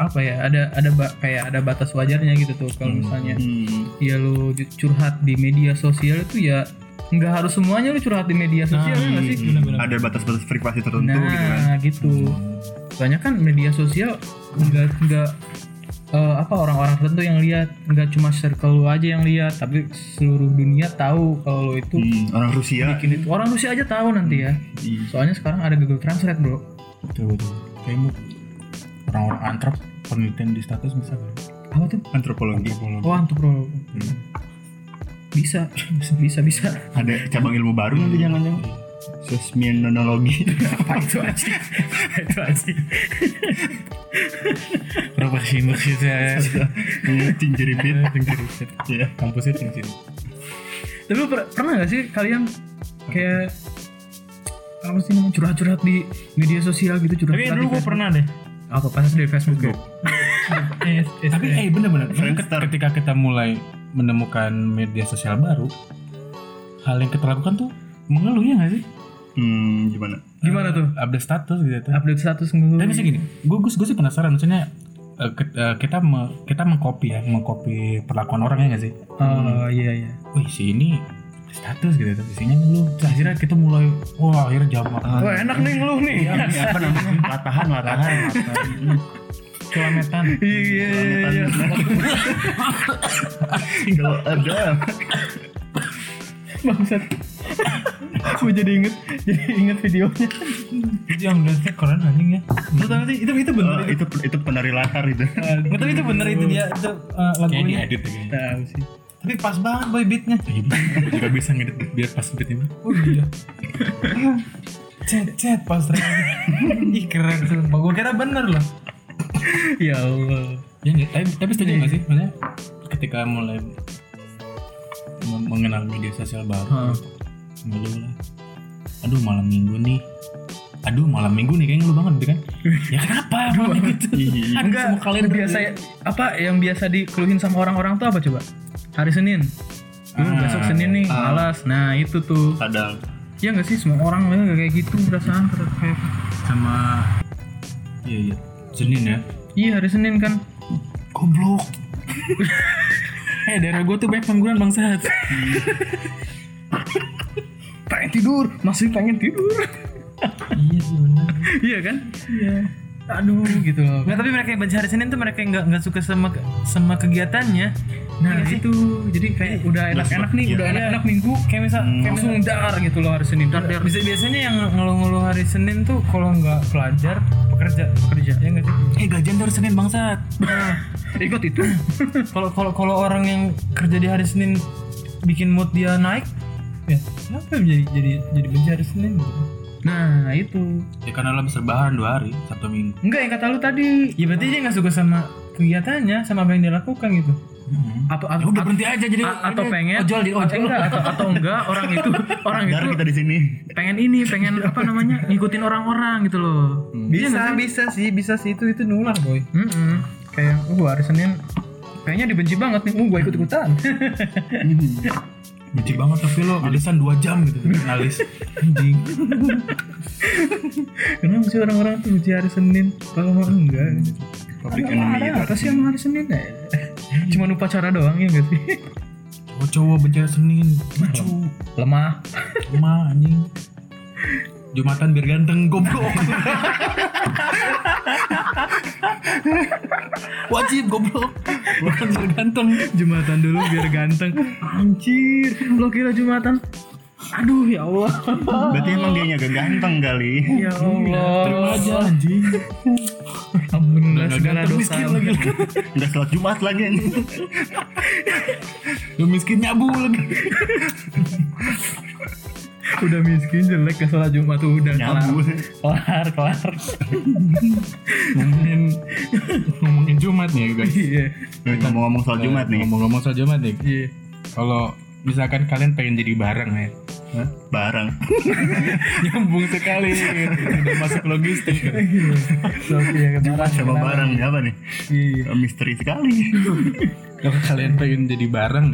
Speaker 4: apa ya ada ada ba- kayak ada batas wajarnya gitu tuh kalau misalnya
Speaker 1: Hmm.
Speaker 4: ya lu ju- curhat di media sosial itu ya nggak harus semuanya lu curhat di media sosial ya nggak sih
Speaker 1: Ada batas-batas frekuensi tertentu gitu kan.
Speaker 4: nah gitu soalnya kan media sosial nggak nggak eh, apa orang-orang tertentu yang lihat nggak cuma circle lu aja yang lihat tapi seluruh dunia tahu kalau lu itu
Speaker 1: Hmm, orang Rusia
Speaker 4: bikin itu orang Rusia aja tahu nanti ya
Speaker 1: Iya.
Speaker 4: soalnya sekarang ada Google Translate bro
Speaker 2: betul betul kayak mu- orang-orang antrop penelitian di status bisa kan
Speaker 4: apa tuh
Speaker 1: antropologi.
Speaker 4: oh antuk bro
Speaker 1: Hmm.
Speaker 4: bisa bisa bisa
Speaker 1: Ada cabang ilmu baru nanti jangan-jangan. Sosmienologi.
Speaker 4: apa itu aja apa itu aja
Speaker 2: profesi maksudnya
Speaker 1: Cinceripit. Ya.
Speaker 2: kampusnya tinggi
Speaker 4: Tapi lu per- pernah gak sih kalian kayak apa sih namanya curhat-curhat di media sosial gitu curhat?
Speaker 6: Tapi dulu gue pernah deh.
Speaker 4: apa pas di Facebook ya?
Speaker 6: Eh, eh,
Speaker 2: Tapi eh bener-bener
Speaker 1: Friendster.
Speaker 2: ketika kita mulai menemukan media sosial baru, hal yang kita lakukan tuh mengeluh ya nggak sih?
Speaker 1: Hmm, gimana?
Speaker 4: Gimana tuh?
Speaker 2: Update status gitu. tuh.
Speaker 4: Update status
Speaker 2: eh, Tapi
Speaker 4: ngeluh.
Speaker 2: gitu. misalnya gini, gue gue sih penasaran maksudnya eh, ke- eh, kita me- kita mengcopy ya, mengcopy perlakuan orang ya nggak sih?
Speaker 4: Oh iya iya.
Speaker 2: Wih si ini status gitu, tapi isinya ngeluh. Terus akhirnya kita mulai, wah akhirnya jamak.
Speaker 4: Wah enak nih ngeluh nih.
Speaker 1: Iya, ini apa namanya? Latahan, latahan. latahan.
Speaker 2: Culametan.
Speaker 4: Iya iya iya.
Speaker 1: Kalau ada
Speaker 4: Bangsat. Gue jadi inget jadi inget videonya.
Speaker 6: itu yang dance keren anjing ya. Lu tau gak sih itu itu bener.
Speaker 1: eh, itu itu penari latar itu.
Speaker 6: Gue tau itu bener itu dia itu eh,
Speaker 2: Kayak
Speaker 6: lagunya.
Speaker 2: diedit ya kayaknya.
Speaker 4: Tahu sih.
Speaker 6: Tapi pas banget boy beatnya.
Speaker 2: Iya, gua juga bisa ngedit biar pas beatnya.
Speaker 6: Oh iya. Cet cet pas ternyata. Ih keren sumpah. Gue kira bener loh.
Speaker 4: Ya Allah.
Speaker 2: Ya, nggak- tapi, tapi setuju nggak
Speaker 4: Iya.
Speaker 2: sih? Maksudnya ketika mulai mem- mengenal media sosial baru, ngeluh lah. Aduh malam minggu nih. Aduh malam minggu nih kayaknya ngeluh banget gitu kan? Ya kenapa malam minggu tuh?
Speaker 4: iya,
Speaker 2: Ada
Speaker 4: Enggak,
Speaker 2: Kan semua kalender
Speaker 4: biasa apa yang biasa dikeluhin sama orang-orang tuh apa coba? Hari Senin.
Speaker 2: Ah,
Speaker 4: Lu besok Senin nih, malas. Nah, itu tuh.
Speaker 1: Kadang
Speaker 4: Ya nggak sih semua orang memang nggak kayak gitu perasaan kayak kayak-
Speaker 2: sama iya iya Senin ya.
Speaker 4: iya hari Senin kan
Speaker 2: Goblok. eh daerah gue tuh banyak pengangguran bangsa.
Speaker 4: Iya. pengen tidur masih pengen tidur
Speaker 6: Iya sih bener.
Speaker 4: iya kan iya aduh gitu loh
Speaker 6: Nggak, tapi mereka yang baca hari Senin tuh mereka yang nggak nggak suka sama ke- sama kegiatannya.
Speaker 4: nah itu jadi kayak udah enak-enak nih udah enak-enak minggu
Speaker 6: Kayak misal kayak misal-
Speaker 4: langsung dar gitu loh hari Senin dar dar
Speaker 6: bisa biasanya yang ngeluh-ngeluh hari Senin tuh kalau nggak pelajar pekerja pekerja ya nggak sih?
Speaker 2: eh gajian dari Senin bangsa.
Speaker 4: ikut itu
Speaker 6: Kalau kalau kalau orang yang kerja di hari Senin bikin mood dia naik, ya kenapa jadi jadi jadi benci hari Senin? gitu?
Speaker 4: nah itu
Speaker 2: Ya karena lo habis lebaran dua hari Sabtu Minggu.
Speaker 4: enggak yang kata lu tadi Ah.
Speaker 6: Ya berarti dia nggak suka sama kegiatannya sama apa yang dia lakukan gitu.
Speaker 4: atau atau
Speaker 2: Ya Udah berhenti aja jadi
Speaker 4: atau pengen
Speaker 2: ojol di
Speaker 4: atau
Speaker 2: ojol.
Speaker 4: enggak atau, atau enggak orang itu orang
Speaker 1: Dar
Speaker 4: itu
Speaker 1: kita di sini.
Speaker 4: pengen ini pengen
Speaker 2: Iya.
Speaker 4: apa namanya ngikutin orang-orang gitu loh
Speaker 2: Hmm.
Speaker 6: Bisa bisa sih bisa sih itu itu nular boy.
Speaker 4: Mm-mm. Kayak uh hari Senin kayaknya dibenci banget nih. Uh gue ikut ikutan.
Speaker 2: Benci banget tapi lo alisan 2 jam gitu analis anjing.
Speaker 4: Kenapa sih orang-orang tuh benci hari Senin? Kalau mau enggak.
Speaker 1: Public
Speaker 4: Ada-
Speaker 1: enemy
Speaker 4: Ada apa sih sama hari Senin? ya? Cuma upacara doang ya nggak sih?
Speaker 2: Cowok-cowok bencana Oh, Senin, lucu,
Speaker 4: Lemah.
Speaker 2: lemah anjing. Jumatan biar ganteng goblok. wajib goblok bukan biar ganteng
Speaker 4: Jumatan dulu biar ganteng. Anjir, lo kira Jumatan? Aduh ya Allah.
Speaker 1: Berarti emang dia agak ganteng kali.
Speaker 4: Ya Allah.
Speaker 2: terima aja anjing
Speaker 4: Ampunilah
Speaker 2: Udah
Speaker 4: segala
Speaker 2: ganteng
Speaker 4: dosa.
Speaker 2: miskin lagi
Speaker 1: Udah sholat Jumat lagi. anjing.
Speaker 2: lu miskin nyabu lagi
Speaker 4: Udah miskin jelek ke sholat Jumat tuh udah kelar.
Speaker 1: Nyabu.
Speaker 4: Kelar, kelar.
Speaker 2: ngomongin ngomongin Jumat nih ya, guys
Speaker 4: Iya.
Speaker 1: Ngomong-ngomong sholat Jumat nih.
Speaker 2: ngomong-ngomong soal Jumat nih
Speaker 4: Iya.
Speaker 2: kalau misalkan kalian pengen jadi bareng ya
Speaker 1: Bareng.
Speaker 2: nyambung sekali udah masuk logistik
Speaker 4: Iya, kemarin.
Speaker 1: Coba bareng siapa nih? Eh,
Speaker 4: Iya.
Speaker 1: Misteri sekali.
Speaker 2: kalau kalian pengen jadi bareng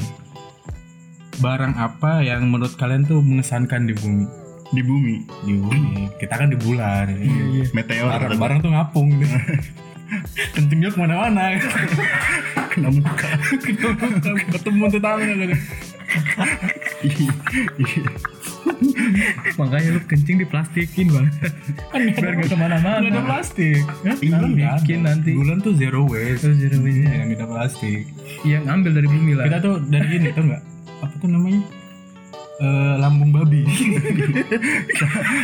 Speaker 2: barang apa yang menurut kalian tuh mengesankan di bumi
Speaker 1: Di bumi.
Speaker 2: di bumi kita kan di bulan ya.
Speaker 1: Meteor.
Speaker 2: barang barang tuh ngapung kencingnya kemana-mana
Speaker 1: Kena muka.
Speaker 2: ketemu tetangga gitu.
Speaker 4: Makanya lu kencing diplastikin
Speaker 2: Kan
Speaker 4: bang. Biar gak kemana-mana.
Speaker 2: Gak ada plastik
Speaker 4: Iya,
Speaker 2: Bulan nggak ada.
Speaker 4: bikin nanti.
Speaker 2: bulan tuh zero waste
Speaker 4: Itu zero waste-nya.
Speaker 2: yang ada plastik
Speaker 4: Yang ambil Iya, dari bumi lah.
Speaker 2: kita tuh dari ini tau nggak apa tuh namanya Eh, lambung babi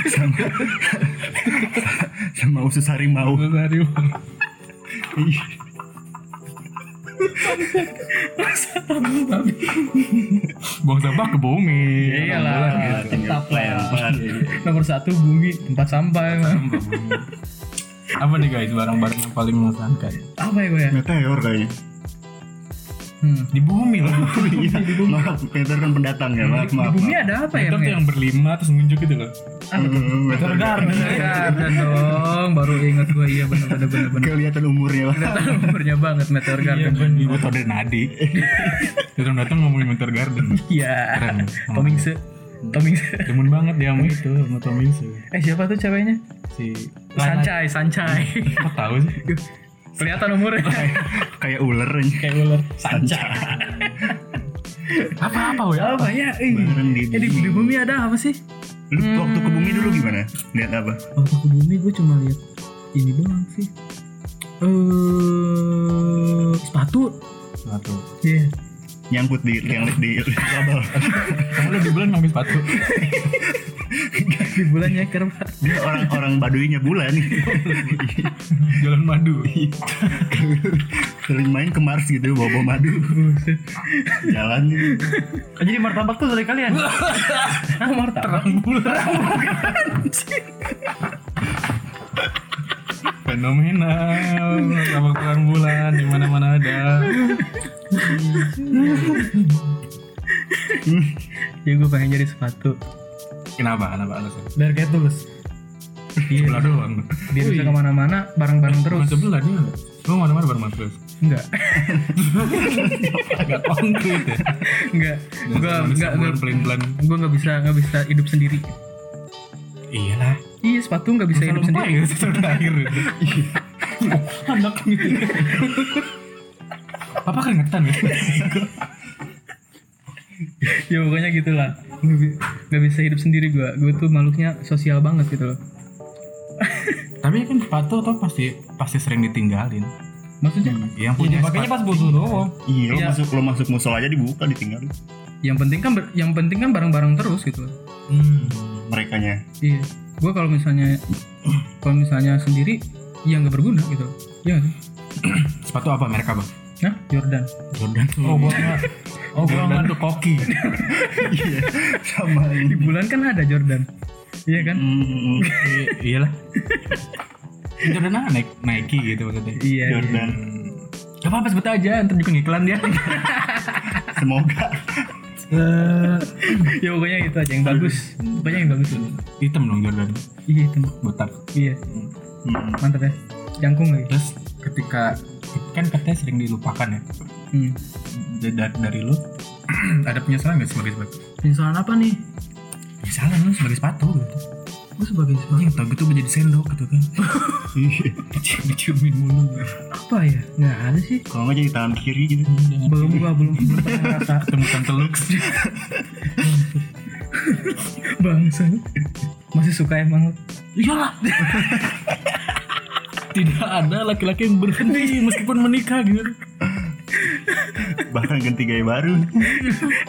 Speaker 1: sama sama usus harimau
Speaker 2: Rosario buang sampah ke bumi
Speaker 4: Iyalah,
Speaker 2: Bulan
Speaker 1: Ya,
Speaker 2: gitu.
Speaker 1: tinggal lempar.
Speaker 4: Iya, Nomor satu bumi tempat sampah ya, emang.
Speaker 2: apa nih guys barang-barang yang paling mengesankan
Speaker 4: Apa ya gue ya?
Speaker 1: meteor kayaknya
Speaker 4: Hmm.
Speaker 2: di bumi loh
Speaker 1: Iya, maaf meteor kan pendatang ya
Speaker 4: Di
Speaker 1: maaf maaf
Speaker 4: bumi ada apa
Speaker 2: itu
Speaker 4: ya? Bang,
Speaker 2: tuh
Speaker 4: ya?
Speaker 2: yang berlima terus nunjuk gitu loh
Speaker 1: Mm, meteor
Speaker 2: Garden.
Speaker 4: Ada Iya, dong, baru inget gue iya bener bener bener bener.
Speaker 1: kelihatan umurnya lah
Speaker 4: Umurnya banget Meteor
Speaker 2: Iya,
Speaker 4: Garden.
Speaker 2: di gue tau dari Nadi datang-datang ngomongin Winter Garden
Speaker 4: Iya.
Speaker 2: keren
Speaker 4: Tomingse. Tomingse.
Speaker 2: demen banget dia sama itu sama Tom Hanks tuh.
Speaker 4: Eh siapa tuh ceweknya?
Speaker 2: si
Speaker 4: Sancai, Sancai.
Speaker 2: kok tahu sih
Speaker 4: Kelihatan umurnya.
Speaker 2: Oh, iya.
Speaker 1: kayak ular anjing.
Speaker 2: kayak ular sanca apa apa ya
Speaker 4: Apa ya? Ih.
Speaker 1: Barang di
Speaker 4: Eh, di, di bumi ada apa sih?
Speaker 1: lu waktu ke bumi dulu gimana lihat apa
Speaker 4: Waktu ke bumi gue cuma lihat ini doang sih. Eh sepatu.
Speaker 2: Eh, sepatu
Speaker 4: Iya.
Speaker 1: nyangkut di yang di kabel
Speaker 2: kamu udah di bulan ngambil sepatu
Speaker 4: Di bulan ya kerba.
Speaker 1: dia orang orang baduinya bulan
Speaker 2: jalan madu
Speaker 1: sering main ke Mars gitu bawa bawa madu jalan gitu.
Speaker 2: Kan
Speaker 4: Jadi martabak tuh dari kalian. Hah, martabak.
Speaker 2: fenomenal sama terang bulan di mana mana ada
Speaker 4: Ya gue pengen jadi sepatu.
Speaker 2: kenapa kenapa alasan
Speaker 4: Biar kayak tulus.
Speaker 2: sebelah doang
Speaker 4: Biar bisa kemana-mana bareng-bareng terus.
Speaker 2: Bukan sebelah dia ada lu mana mana bareng terus
Speaker 4: Enggak.
Speaker 2: agak konkret ya
Speaker 4: Enggak. Gue
Speaker 2: manusia
Speaker 4: enggak
Speaker 2: bulan pelan pelan
Speaker 4: gue nggak bisa nggak bisa hidup sendiri.
Speaker 2: iyalah
Speaker 4: Iya sepatu nggak bisa hidup sendiri.
Speaker 2: ya terakhir Iya. anak gitu apa keringetan ya
Speaker 4: ya pokoknya gitulah. Nggak bi- Nggak bisa hidup sendiri gue. Gue tuh makhluknya sosial banget gitu loh.
Speaker 2: tapi kan sepatu tuh pasti pasti sering ditinggalin
Speaker 4: Maksudnya
Speaker 2: yang punya pakainya pas butuh doang
Speaker 1: iya lo
Speaker 4: Iya.
Speaker 1: masuk lo masuk musola aja dibuka ditinggal
Speaker 4: yang penting kan ber- yang penting kan bareng-bareng terus gitu. loh.
Speaker 1: mereka nya
Speaker 4: Iya. Gue kalau misalnya kalau misalnya sendiri ya nggak berguna gitu. Iya nggak sih?
Speaker 2: sepatu apa merek apa
Speaker 4: Nah Jordan.
Speaker 2: Jordan oh gua nggak oh gua nggak tuh koki
Speaker 1: iya sama
Speaker 4: Di bulan kan ada Jordan. Iya kan?
Speaker 1: Mm,
Speaker 2: I- iyalah Jordan apa naik Nike gitu maksudnya
Speaker 4: Iya.
Speaker 1: Jordan
Speaker 2: Gak apa-apa sebut aja, ntar juga ngiklan dia
Speaker 1: semoga
Speaker 2: Eh.
Speaker 4: Ya pokoknya itu aja yang bagus. Pokoknya yang bagus.
Speaker 2: Hitam dong Jordan,
Speaker 4: Iya itu.
Speaker 2: botak
Speaker 4: Iya.
Speaker 1: Hmm.
Speaker 4: Mantap ya. Jangkung lagi.
Speaker 2: Terus ketika, kan katanya sering dilupakan ya
Speaker 4: Hmm.
Speaker 2: Da- da- Dari, lu, ada penyesalan gak sebagai sepatu?
Speaker 4: Penyesalan apa nih?
Speaker 2: Penyesalan lu sebagai sepatu gitu
Speaker 4: Gue sebagai
Speaker 2: Anjing tau gitu menjadi sendok gitu kan
Speaker 1: Iya.
Speaker 2: Dicium- Diciumin mulu
Speaker 4: apa ya? Nggak ada sih.
Speaker 1: kalau nggak jadi tangan kiri gitu
Speaker 4: Belum gua belum belum pernah ngerasa
Speaker 2: Ketemu Tante Lux
Speaker 4: bangsa. Masih suka emang.
Speaker 2: Iyalah tidak ada laki-laki yang berhenti meskipun menikah gitu
Speaker 1: bahkan ganti gaya baru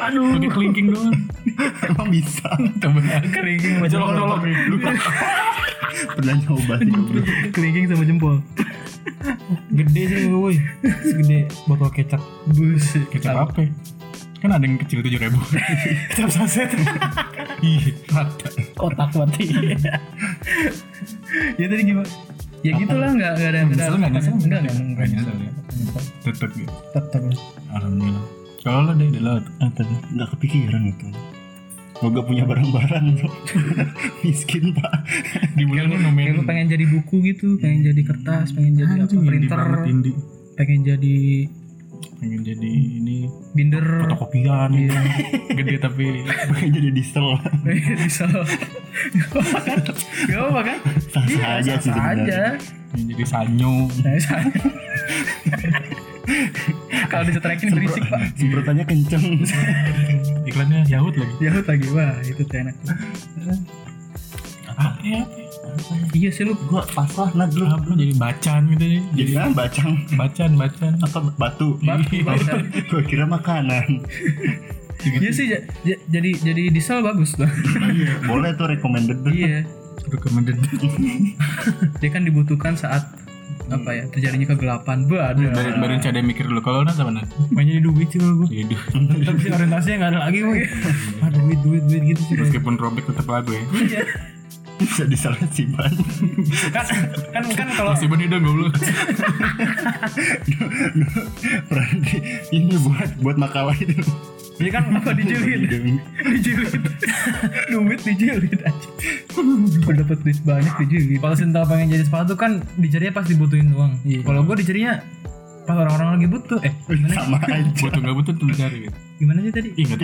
Speaker 2: aduh pakai kelingking doang
Speaker 1: emang bisa
Speaker 2: temen kelingking
Speaker 4: sama
Speaker 2: colok-colok
Speaker 1: pernah nyoba sih bro
Speaker 4: kelingking sama jempol
Speaker 6: Gede sih gue woi. Segede botol kecap.
Speaker 4: buset
Speaker 2: kecap apa kan ada yang kecil tujuh ribu kecap saset iya rata
Speaker 4: kotak mati ya tadi gimana ya gitulah nggak nggak ada nggak
Speaker 2: nyesel
Speaker 4: ada
Speaker 2: nggak nyesel
Speaker 4: nggak
Speaker 2: nggak nyesel ya tetep gitu
Speaker 4: tetap
Speaker 2: alhamdulillah kalau lo deh lo Ah, apa tuh?
Speaker 1: nggak kepikiran itu Gua gak punya barang-barang bro Miskin pak
Speaker 2: di bulan lo nomen
Speaker 4: kayak gue pengen jadi buku gitu pengen jadi kertas pengen jadi apa, printer
Speaker 2: indi
Speaker 4: pengen jadi
Speaker 2: pengen jadi ini
Speaker 4: binder
Speaker 2: fotokopian gitu. gede tapi
Speaker 1: Pengen jadi diesel
Speaker 4: bisa gak apa kan
Speaker 1: Sah-sah aja
Speaker 4: Sah
Speaker 1: sih sebenarnya
Speaker 4: aja
Speaker 2: pengen jadi sanyo
Speaker 4: Nah, sah. kalau disetrekin berisik pak
Speaker 1: Semprotannya kenceng
Speaker 2: iklannya yahut lagi
Speaker 4: ya lagi wah itu tuh enak
Speaker 2: apa ya
Speaker 4: iya sih lu
Speaker 1: Gua pasrah nah dulu
Speaker 2: apa jadi bacan gitu ya jadi
Speaker 1: Jadi kan bacang
Speaker 2: bacan bacan
Speaker 1: Apa batu
Speaker 4: Batu, batu.
Speaker 1: Gua kira makanan
Speaker 4: iya sih ja- ja- jadi jadi diesel bagus lah
Speaker 1: Iya Boleh tuh recommended tuh
Speaker 4: iya
Speaker 2: recommended
Speaker 4: dia kan dibutuhkan saat apa ya terjadinya kegelapan Waduh
Speaker 2: baru baru cada mikir dulu kalau nanti apa nanti
Speaker 6: Pengen jadi duit sih kalau gue.
Speaker 2: jadi duh.
Speaker 6: Tapi sih orientasinya nggak ada lagi woi. Ah duit duit duit gitu sih. kalau-
Speaker 2: meskipun robek tetap lagu ya
Speaker 1: Bisa disalah sih ban
Speaker 6: Kan kan kan kalau
Speaker 2: masih benih dong goblok
Speaker 1: Peran di- Ini buat buat makalah itu
Speaker 6: Iya kan
Speaker 4: apa dijilid dijilid duit dijilid aja udah dapet duit banyak dijilid
Speaker 6: kalau Sinta pengen jadi sepatu kan dicarinya pas dibutuhin doang.
Speaker 4: Iya.
Speaker 6: Kalau gue dicarinya pas orang-orang lagi butuh. Eh gimana?
Speaker 1: Sama aja
Speaker 2: butuh nggak butuh tuh cari gitu
Speaker 6: Gimana sih tadi?
Speaker 2: ingat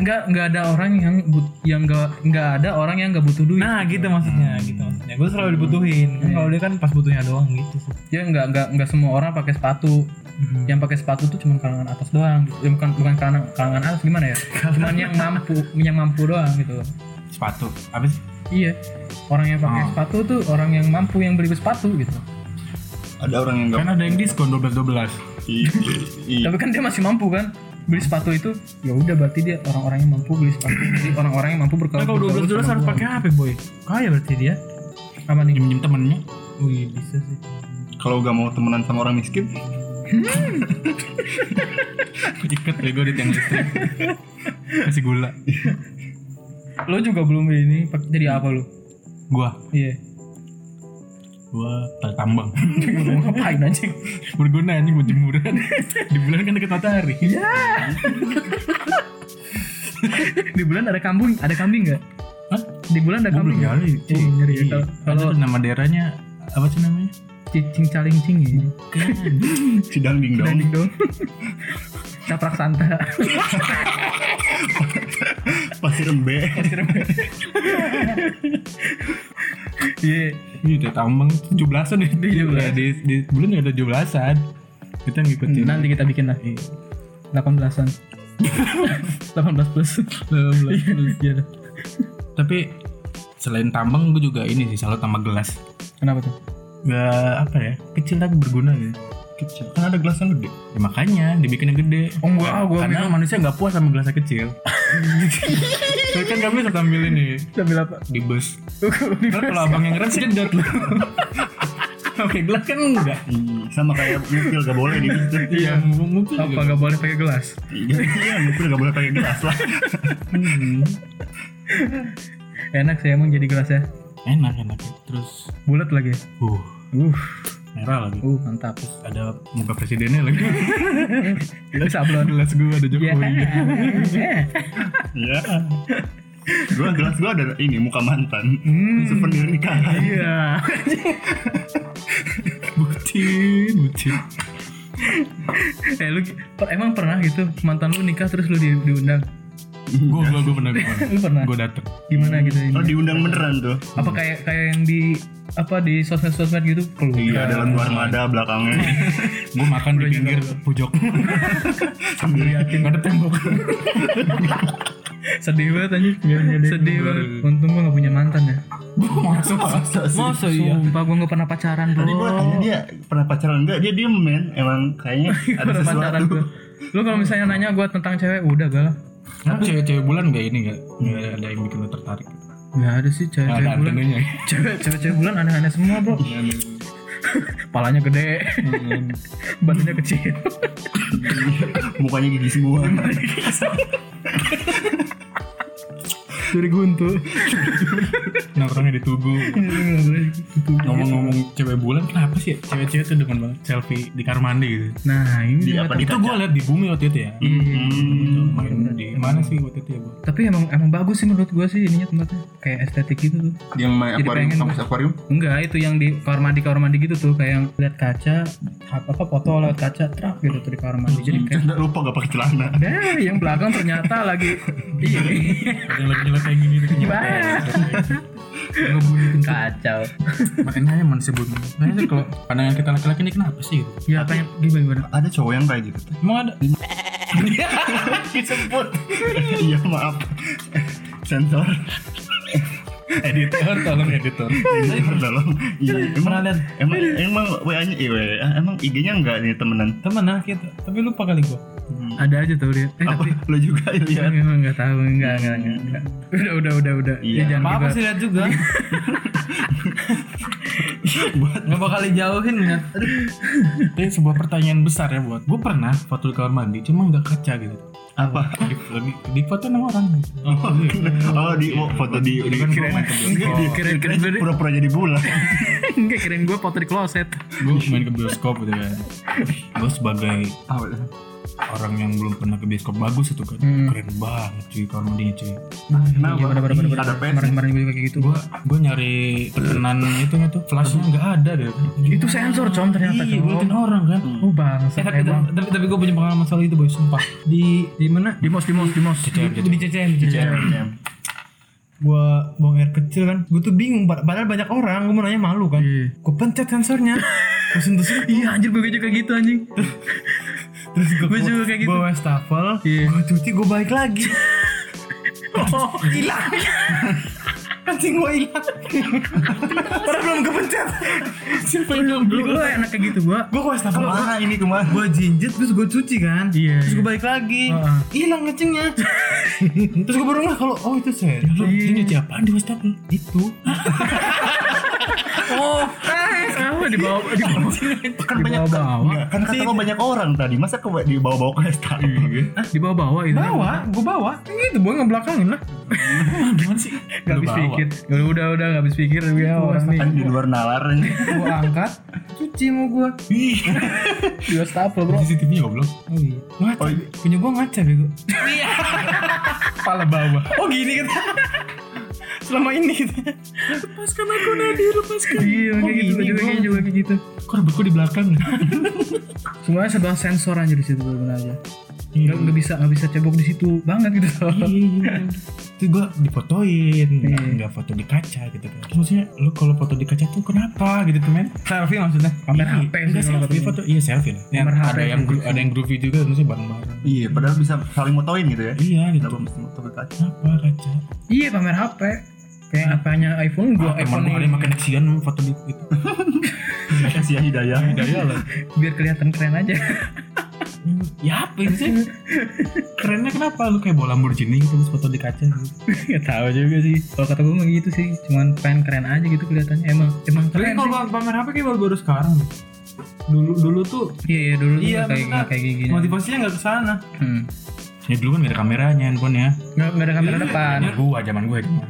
Speaker 4: nggak nggak ada orang yang but- yang nggak nggak ada orang yang nggak butuh duit
Speaker 6: Nah gitu maksudnya, gitu maksudnya. Gue selalu dibutuhin. Kan Kalau dia kan pas butuhnya doang gitu sih.
Speaker 4: ya nggak nggak nggak semua orang pakai sepatu
Speaker 6: Hmm.
Speaker 4: yang pakai sepatu tuh cuma kalangan atas doang gitu. ya, bukan bukan kalangan kalangan atas gimana ya cuman yang mampu yang mampu doang gitu
Speaker 2: sepatu apa sih
Speaker 4: iya orang yang
Speaker 6: Oh.
Speaker 4: pakai sepatu tuh orang yang mampu yang beli sepatu gitu
Speaker 1: Ada orang yang Iya, gak
Speaker 2: kan ada yang diskon dua belas dua belas
Speaker 6: Iya.
Speaker 4: tapi kan dia masih mampu kan beli sepatu itu ya udah berarti dia orang-orang yang mampu beli sepatu jadi orang-orang yang mampu berkaul
Speaker 2: Kan
Speaker 6: Nah, kalau dua belas
Speaker 4: bergaul
Speaker 6: dolar
Speaker 4: sama
Speaker 6: harus
Speaker 4: gua.
Speaker 6: pakai HP boy. Kaya berarti dia.
Speaker 4: apa nih
Speaker 2: pinjam pinjam temennya
Speaker 6: Wih bisa sih.
Speaker 1: Kalau gak mau temenan sama orang miskin
Speaker 2: ikat ya gue di tiang listrik kasih gula
Speaker 4: lo juga belum ini pak- jadi apa lo
Speaker 2: gua
Speaker 4: iya
Speaker 2: gua tak tambang
Speaker 4: Lu mau ngapain aja
Speaker 2: berguna anjing buat jemuran di bulan kan deket matahari
Speaker 4: di bulan ada kambing ada kambing nggak
Speaker 2: Hah?
Speaker 4: di bulan ada
Speaker 2: Gua
Speaker 4: kambing
Speaker 2: belum
Speaker 4: nggak?
Speaker 2: nyari cuy.
Speaker 4: Oh, belum nyari ya.
Speaker 2: Iya.
Speaker 4: Kalau-
Speaker 2: Ada tuh nama daerahnya apa sih namanya
Speaker 4: cicing caling cing ya
Speaker 1: Sidang ding dong
Speaker 4: dan dong caprak santa
Speaker 1: Pasir rembe
Speaker 4: iya
Speaker 2: iya dia tambang tujuh belasan deh di, di, di bulan nggak ada tujuh belasan kita ngikutin
Speaker 4: Hmm, nanti kita bikin lah
Speaker 2: Iya.
Speaker 4: 18-an 18 plus 18 plus iya dah.
Speaker 2: tapi selain tambang gue juga ini sih selalu tambah gelas
Speaker 4: kenapa tuh
Speaker 2: nggak apa ya kecil tapi berguna gitu
Speaker 1: Kecil Kan ada gelas yang gede
Speaker 2: ya, makanya dibikin yang gede
Speaker 4: oh enggak gue
Speaker 2: karena manusia nggak puas sama gelasnya kecil Soalnya kan kami bisa tampil ini
Speaker 4: ambil apa
Speaker 2: di bus Ntar Oh, kalau abang yang rem jedot lu oke gelas kan enggak
Speaker 1: Iya, Sama kayak ngupil gak boleh di situ
Speaker 2: iya mungkin
Speaker 4: apa
Speaker 2: juga
Speaker 4: nggak boleh pakai gelas
Speaker 1: Iya ngupil gak boleh pakai gelas lah
Speaker 4: enak sih emang jadi gelas ya
Speaker 2: enak enak terus
Speaker 4: bulat lagi
Speaker 2: uh
Speaker 4: uh
Speaker 2: merah lagi
Speaker 4: uh mantap
Speaker 2: ada muka presidennya lagi
Speaker 4: gelas sablon
Speaker 2: gelas gue ada Oh,
Speaker 4: Iya.
Speaker 2: Jokowi
Speaker 1: Iya Gua gelas gua ada ini muka mantan
Speaker 4: Hmm.
Speaker 1: Souvenir nikahan
Speaker 4: iya
Speaker 2: bucin bucin
Speaker 4: eh lu per- emang pernah gitu mantan lu nikah terus lu di- diundang
Speaker 2: gue gue gue pernah gue
Speaker 4: lu pernah
Speaker 2: gue dateng
Speaker 4: gimana gitu
Speaker 1: Oh
Speaker 4: ini
Speaker 1: diundang beneran tuh
Speaker 4: apa kayak kayak yang di apa di sosmed-sosmed gitu keluar
Speaker 1: Iya dalam armada belakangnya
Speaker 2: gue makan di pinggir pojok
Speaker 1: Sambil liatin
Speaker 2: nggak ada tembok
Speaker 4: sedih banget anjir sedih banget untung gua gak punya mantan ya
Speaker 2: Gua mau
Speaker 4: Masa iya? Sumpah gue gak pernah pacaran bro
Speaker 1: Tadi gua tanya dia pernah pacaran enggak? Dia diem men. Emang kayaknya ada
Speaker 4: Pernah pacaran
Speaker 1: sesuatu.
Speaker 4: gue Lu kalau misalnya nanya gue tentang cewek udah gak lah
Speaker 2: Tapi cewek-cewek bulan gak ini gak? Gak ada yang bikin lo tertarik
Speaker 4: Gak ada sih
Speaker 2: Gak ada
Speaker 4: cewek-cewek bulan
Speaker 2: antenanya
Speaker 4: Cewek- Cewek-cewek bulan aneh-aneh semua bro
Speaker 1: Iya,
Speaker 4: Palanya gede Badannya kecil
Speaker 1: Mukanya gigi semua.
Speaker 4: Hmm. Dari guntu
Speaker 2: Nongkrongnya di tugu Ngomong-ngomong cewek bulan Kenapa sih ya cewek-cewek tuh demen banget Selfie di kamar mandi gitu
Speaker 4: Nah ini
Speaker 1: Di
Speaker 4: dia
Speaker 1: apa
Speaker 4: tuh.
Speaker 1: di
Speaker 2: Itu gue liat di bumi waktu itu ya
Speaker 1: Hmm.
Speaker 2: Itu main di mana sih waktu itu ya gue
Speaker 4: Tapi emang emang bagus sih menurut gue sih ininya tempatnya Kayak estetik gitu tuh
Speaker 7: yang main
Speaker 4: Jadi
Speaker 7: akuarium
Speaker 4: pengen
Speaker 7: kampus akuarium
Speaker 4: Enggak itu yang di kamar mandi kamar mandi gitu tuh Kayak yang lihat kaca apa, apa foto lewat kaca Terak gitu tuh di kamar mandi Jadi kayak
Speaker 1: Nggak lupa gak pakai celana.
Speaker 4: Nah, yang belakang ternyata lagi ini
Speaker 2: Ada yang jelek-jelek kayak gini tuh.
Speaker 4: gimana? Kacau.
Speaker 2: Makanya emang disebut Makanya kalau pandangan kita laki-laki ini kenapa sih gitu
Speaker 4: Ya apa yang gimana gimana?
Speaker 1: Ada cowok yang kayak gitu. Teh.
Speaker 2: Emang ada
Speaker 1: Disebut. Iya maaf. Sensor.
Speaker 2: editor tolong editor Kan
Speaker 1: Sensor tolong. Iya. Emang
Speaker 2: Pernah lihat?
Speaker 1: emang emang WA-nya eh, WA. emang IG-nya enggak nih temenan.
Speaker 2: Temen
Speaker 4: nah,
Speaker 2: lah
Speaker 4: gitu.
Speaker 2: kita Tapi lupa kali gue
Speaker 4: Ada aja tuh dia. Eh,
Speaker 1: Apa
Speaker 4: tapi
Speaker 1: lu juga
Speaker 4: ya.
Speaker 1: lihat?
Speaker 4: memang nggak tahu nggak nggak nggak. nggak. Udah udah udah udah.
Speaker 1: Iya.
Speaker 4: Ya, jangan
Speaker 6: apa apa
Speaker 4: dibahas.
Speaker 6: sih lihat juga nggak bakal dijauhin lihat
Speaker 2: Ini sebuah pertanyaan besar ya buat Gue pernah foto di kamar mandi Cuma nggak kaca gitu
Speaker 1: Apa?
Speaker 2: di, di, di foto enam orang oh,
Speaker 1: Oh, di oh, foto di di
Speaker 2: kan keren
Speaker 4: Oh,
Speaker 1: Enggak, dia kira
Speaker 4: keren- keren-
Speaker 1: pura-pura jadi bulan.
Speaker 4: Enggak kirain gue foto di kloset.
Speaker 2: gue main ke bioskop gitu kan gue sebagai orang yang belum pernah ke bioskop bagus itu kan keren banget cuy kamar mandinya cuy
Speaker 4: Iya benar benar benar.
Speaker 1: Ada
Speaker 4: Kemarin kemarin gue juga kayak gitu.
Speaker 2: gue gue nyari pesanan itu gitu flashnya nggak ada gitu
Speaker 4: Itu sensor com ternyata
Speaker 2: iya gue
Speaker 4: com.
Speaker 2: liatin orang kan
Speaker 4: Oh bangsa
Speaker 6: Eh, tapi,
Speaker 4: emang.
Speaker 6: tapi, tapi gue punya pengalaman soal itu boy sumpah di di mana
Speaker 4: Di mos di mos di mos.
Speaker 2: Cewek gitu.
Speaker 6: di CCM gue buang air kecil kan gue tuh bingung pad- padahal banyak orang gue mau nanya malu kan
Speaker 4: Iya.
Speaker 6: gue pencet sensornya terus terus
Speaker 4: Iya anjir gue juga gitu anjing.
Speaker 6: terus gue
Speaker 4: Gua juga kayak gitu.
Speaker 6: gue wastafel
Speaker 4: Iya.
Speaker 6: gue cuci gue balik lagi
Speaker 4: Oh,
Speaker 6: hilang kancing gue hilang padahal belum kepencet siapa yang
Speaker 4: lu lu enak kayak gitu gua.
Speaker 6: gue wastafel
Speaker 1: Kemana ini kemana?
Speaker 6: gue jinjit terus gue cuci kan
Speaker 4: Iya,
Speaker 6: terus
Speaker 4: iya.
Speaker 6: gue balik lagi
Speaker 4: Heeh.
Speaker 6: hilang kencingnya terus gue baru ngeh kalau oh itu saya
Speaker 2: ini cuci apaan di wastafel itu
Speaker 4: Oh, eh, sama di bawah di bawah.
Speaker 1: Kan banyak
Speaker 4: bawah-bawah.
Speaker 1: Enggak, kan kata lo banyak orang tadi. Masa ke dibawa-bawa ke Estado?
Speaker 2: Iya.
Speaker 4: Di bawah-bawah itu.
Speaker 6: bawa gue bawa Kan gitu gue ngebelakangin lah
Speaker 2: gimana sih
Speaker 4: Gak habis pikir. Udah udah udah gak habis pikir ya orang nih.
Speaker 1: Kan di luar nalar.
Speaker 6: gue angkat cuci mau gue
Speaker 4: Iya. Dua staple bro.
Speaker 2: CCTV nya goblok
Speaker 6: oh iya ngaca punya gue ngaca bego
Speaker 2: kepala bawah
Speaker 6: oh gini kan selama ini gitu lepaskan aku Nadi lepaskan Oh,
Speaker 4: Iya kayak gitu gue juga kayak juga kayak gitu.
Speaker 2: kok rambutku di belakang Iya,
Speaker 4: Semuanya sebuah sensor anjir di situ benar aja. Gak, gak bisa gak bisa cebok di situ banget gitu.
Speaker 2: iya itu gue difotoin nggak
Speaker 4: Iya.
Speaker 2: nggak foto di kaca gitu kan Terus maksudnya lu kalau foto di kaca tuh kenapa gitu tuh men
Speaker 6: selfie maksudnya
Speaker 4: Pamer
Speaker 2: Iya,
Speaker 4: HP
Speaker 2: enggak
Speaker 4: sih kalau
Speaker 2: selfie
Speaker 4: katanya.
Speaker 2: foto iya selfie lah yang
Speaker 4: Pamer HP
Speaker 2: ada
Speaker 4: sih.
Speaker 2: yang gro- ada yang groovy juga maksudnya bareng bareng
Speaker 1: Iya, padahal bisa saling motoin gitu ya.
Speaker 2: iya gitu
Speaker 1: Kenapa mesti moto ke kaca?
Speaker 2: kenapa kaca
Speaker 4: iya pamer HP. Kayak apanya iPhone
Speaker 2: gua
Speaker 4: gua
Speaker 2: teman
Speaker 4: iPhone
Speaker 2: gue ada yang
Speaker 4: ini.
Speaker 2: makan Nexian foto di gitu
Speaker 1: Kasih ya hidayah.
Speaker 2: daya lah
Speaker 4: biar kelihatan keren aja.
Speaker 2: ya apa ini sih kerennya kenapa lu kayak bola Lamborghini gitu terus foto di kaca gitu
Speaker 4: Gak tahu juga sih. Kalau kata gua mah gitu sih, cuman pengen keren aja gitu kelihatannya. Emang emang
Speaker 6: tapi
Speaker 4: keren sih.
Speaker 6: kalau pamer HP kayak baru-baru sekarang dulu dulu tuh
Speaker 4: Iya iya dulu tuh
Speaker 6: Iya,
Speaker 4: nggak kayak
Speaker 6: maksudnya
Speaker 4: nggak kayak gini.
Speaker 6: motivasinya nggak kesana
Speaker 4: Hmm.
Speaker 2: ya dulu kan gak ada kameranya handphone ya
Speaker 4: Nggak nggak ada
Speaker 6: Iya,
Speaker 4: kamera depan.
Speaker 2: zaman gua zaman gua ya. zaman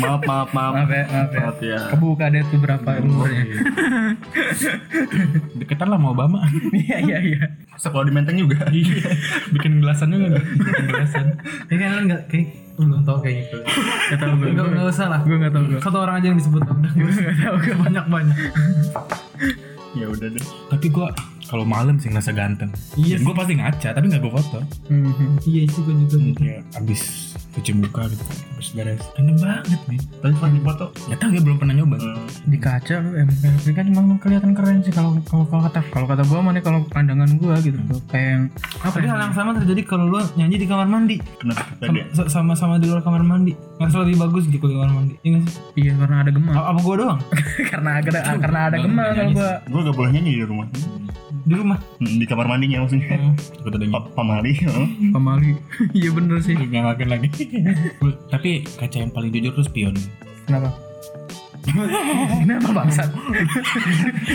Speaker 1: Maaf, maaf, maaf.
Speaker 4: Maaf ya, maaf ya.
Speaker 1: Maaf ya.
Speaker 4: Kebuka deh tuh berapa
Speaker 6: Iya,
Speaker 4: umurnya.
Speaker 2: deketan lah sama Obama
Speaker 4: Iya iya iya.
Speaker 1: Sekolah di Menteng juga.
Speaker 2: bikin gelasan juga kan? bikin gelasan
Speaker 6: kayak kan nggak kayak belum tau kayak gitu
Speaker 4: Gak tau gue.
Speaker 6: nggak nggak usah lah
Speaker 4: Gue nggak tahu gue.
Speaker 6: satu orang aja yang disebut banyak banyak
Speaker 1: Ya udah deh.
Speaker 2: tapi gua kalau malam sih ngerasa ganteng
Speaker 6: Iya
Speaker 2: Dan gua pasti ngaca tapi nggak gua foto
Speaker 4: Mhm.
Speaker 6: iya itu gue juga
Speaker 2: ya abis cuci muka gitu terus beres enak banget nih
Speaker 1: Tapi pas di foto
Speaker 2: nggak tahu ya belum pernah nyoba
Speaker 6: Hmm.
Speaker 1: eh,
Speaker 4: di kaca lu emang kayak gini kan emang kelihatan keren sih kalau kalau kalau kata kalau kata gua mana kalau pandangan gua gitu kayak yang apa
Speaker 6: Tapi
Speaker 4: ya?
Speaker 6: hal yang sama terjadi kalau lo nyanyi di kamar mandi
Speaker 1: kenapa pede?
Speaker 6: Sama- sama-sama di luar kamar mandi Masa lebih bagus gitu di kamar mandi Iya nggak sih?
Speaker 4: iya karena ada gemah
Speaker 6: A- apa gua doang
Speaker 4: karena ada karena ada gemah kalau gua
Speaker 1: Gue gak boleh nyanyi di rumah
Speaker 6: di rumah
Speaker 1: Hmm, Di kamar mandinya maksudnya
Speaker 2: takut ada yang
Speaker 1: Pa- Pamali heeh.
Speaker 4: pemali iya bener sih
Speaker 2: ngalakin lagi tapi kaca yang paling jujur tuh spion
Speaker 4: kenapa kenapa bangsat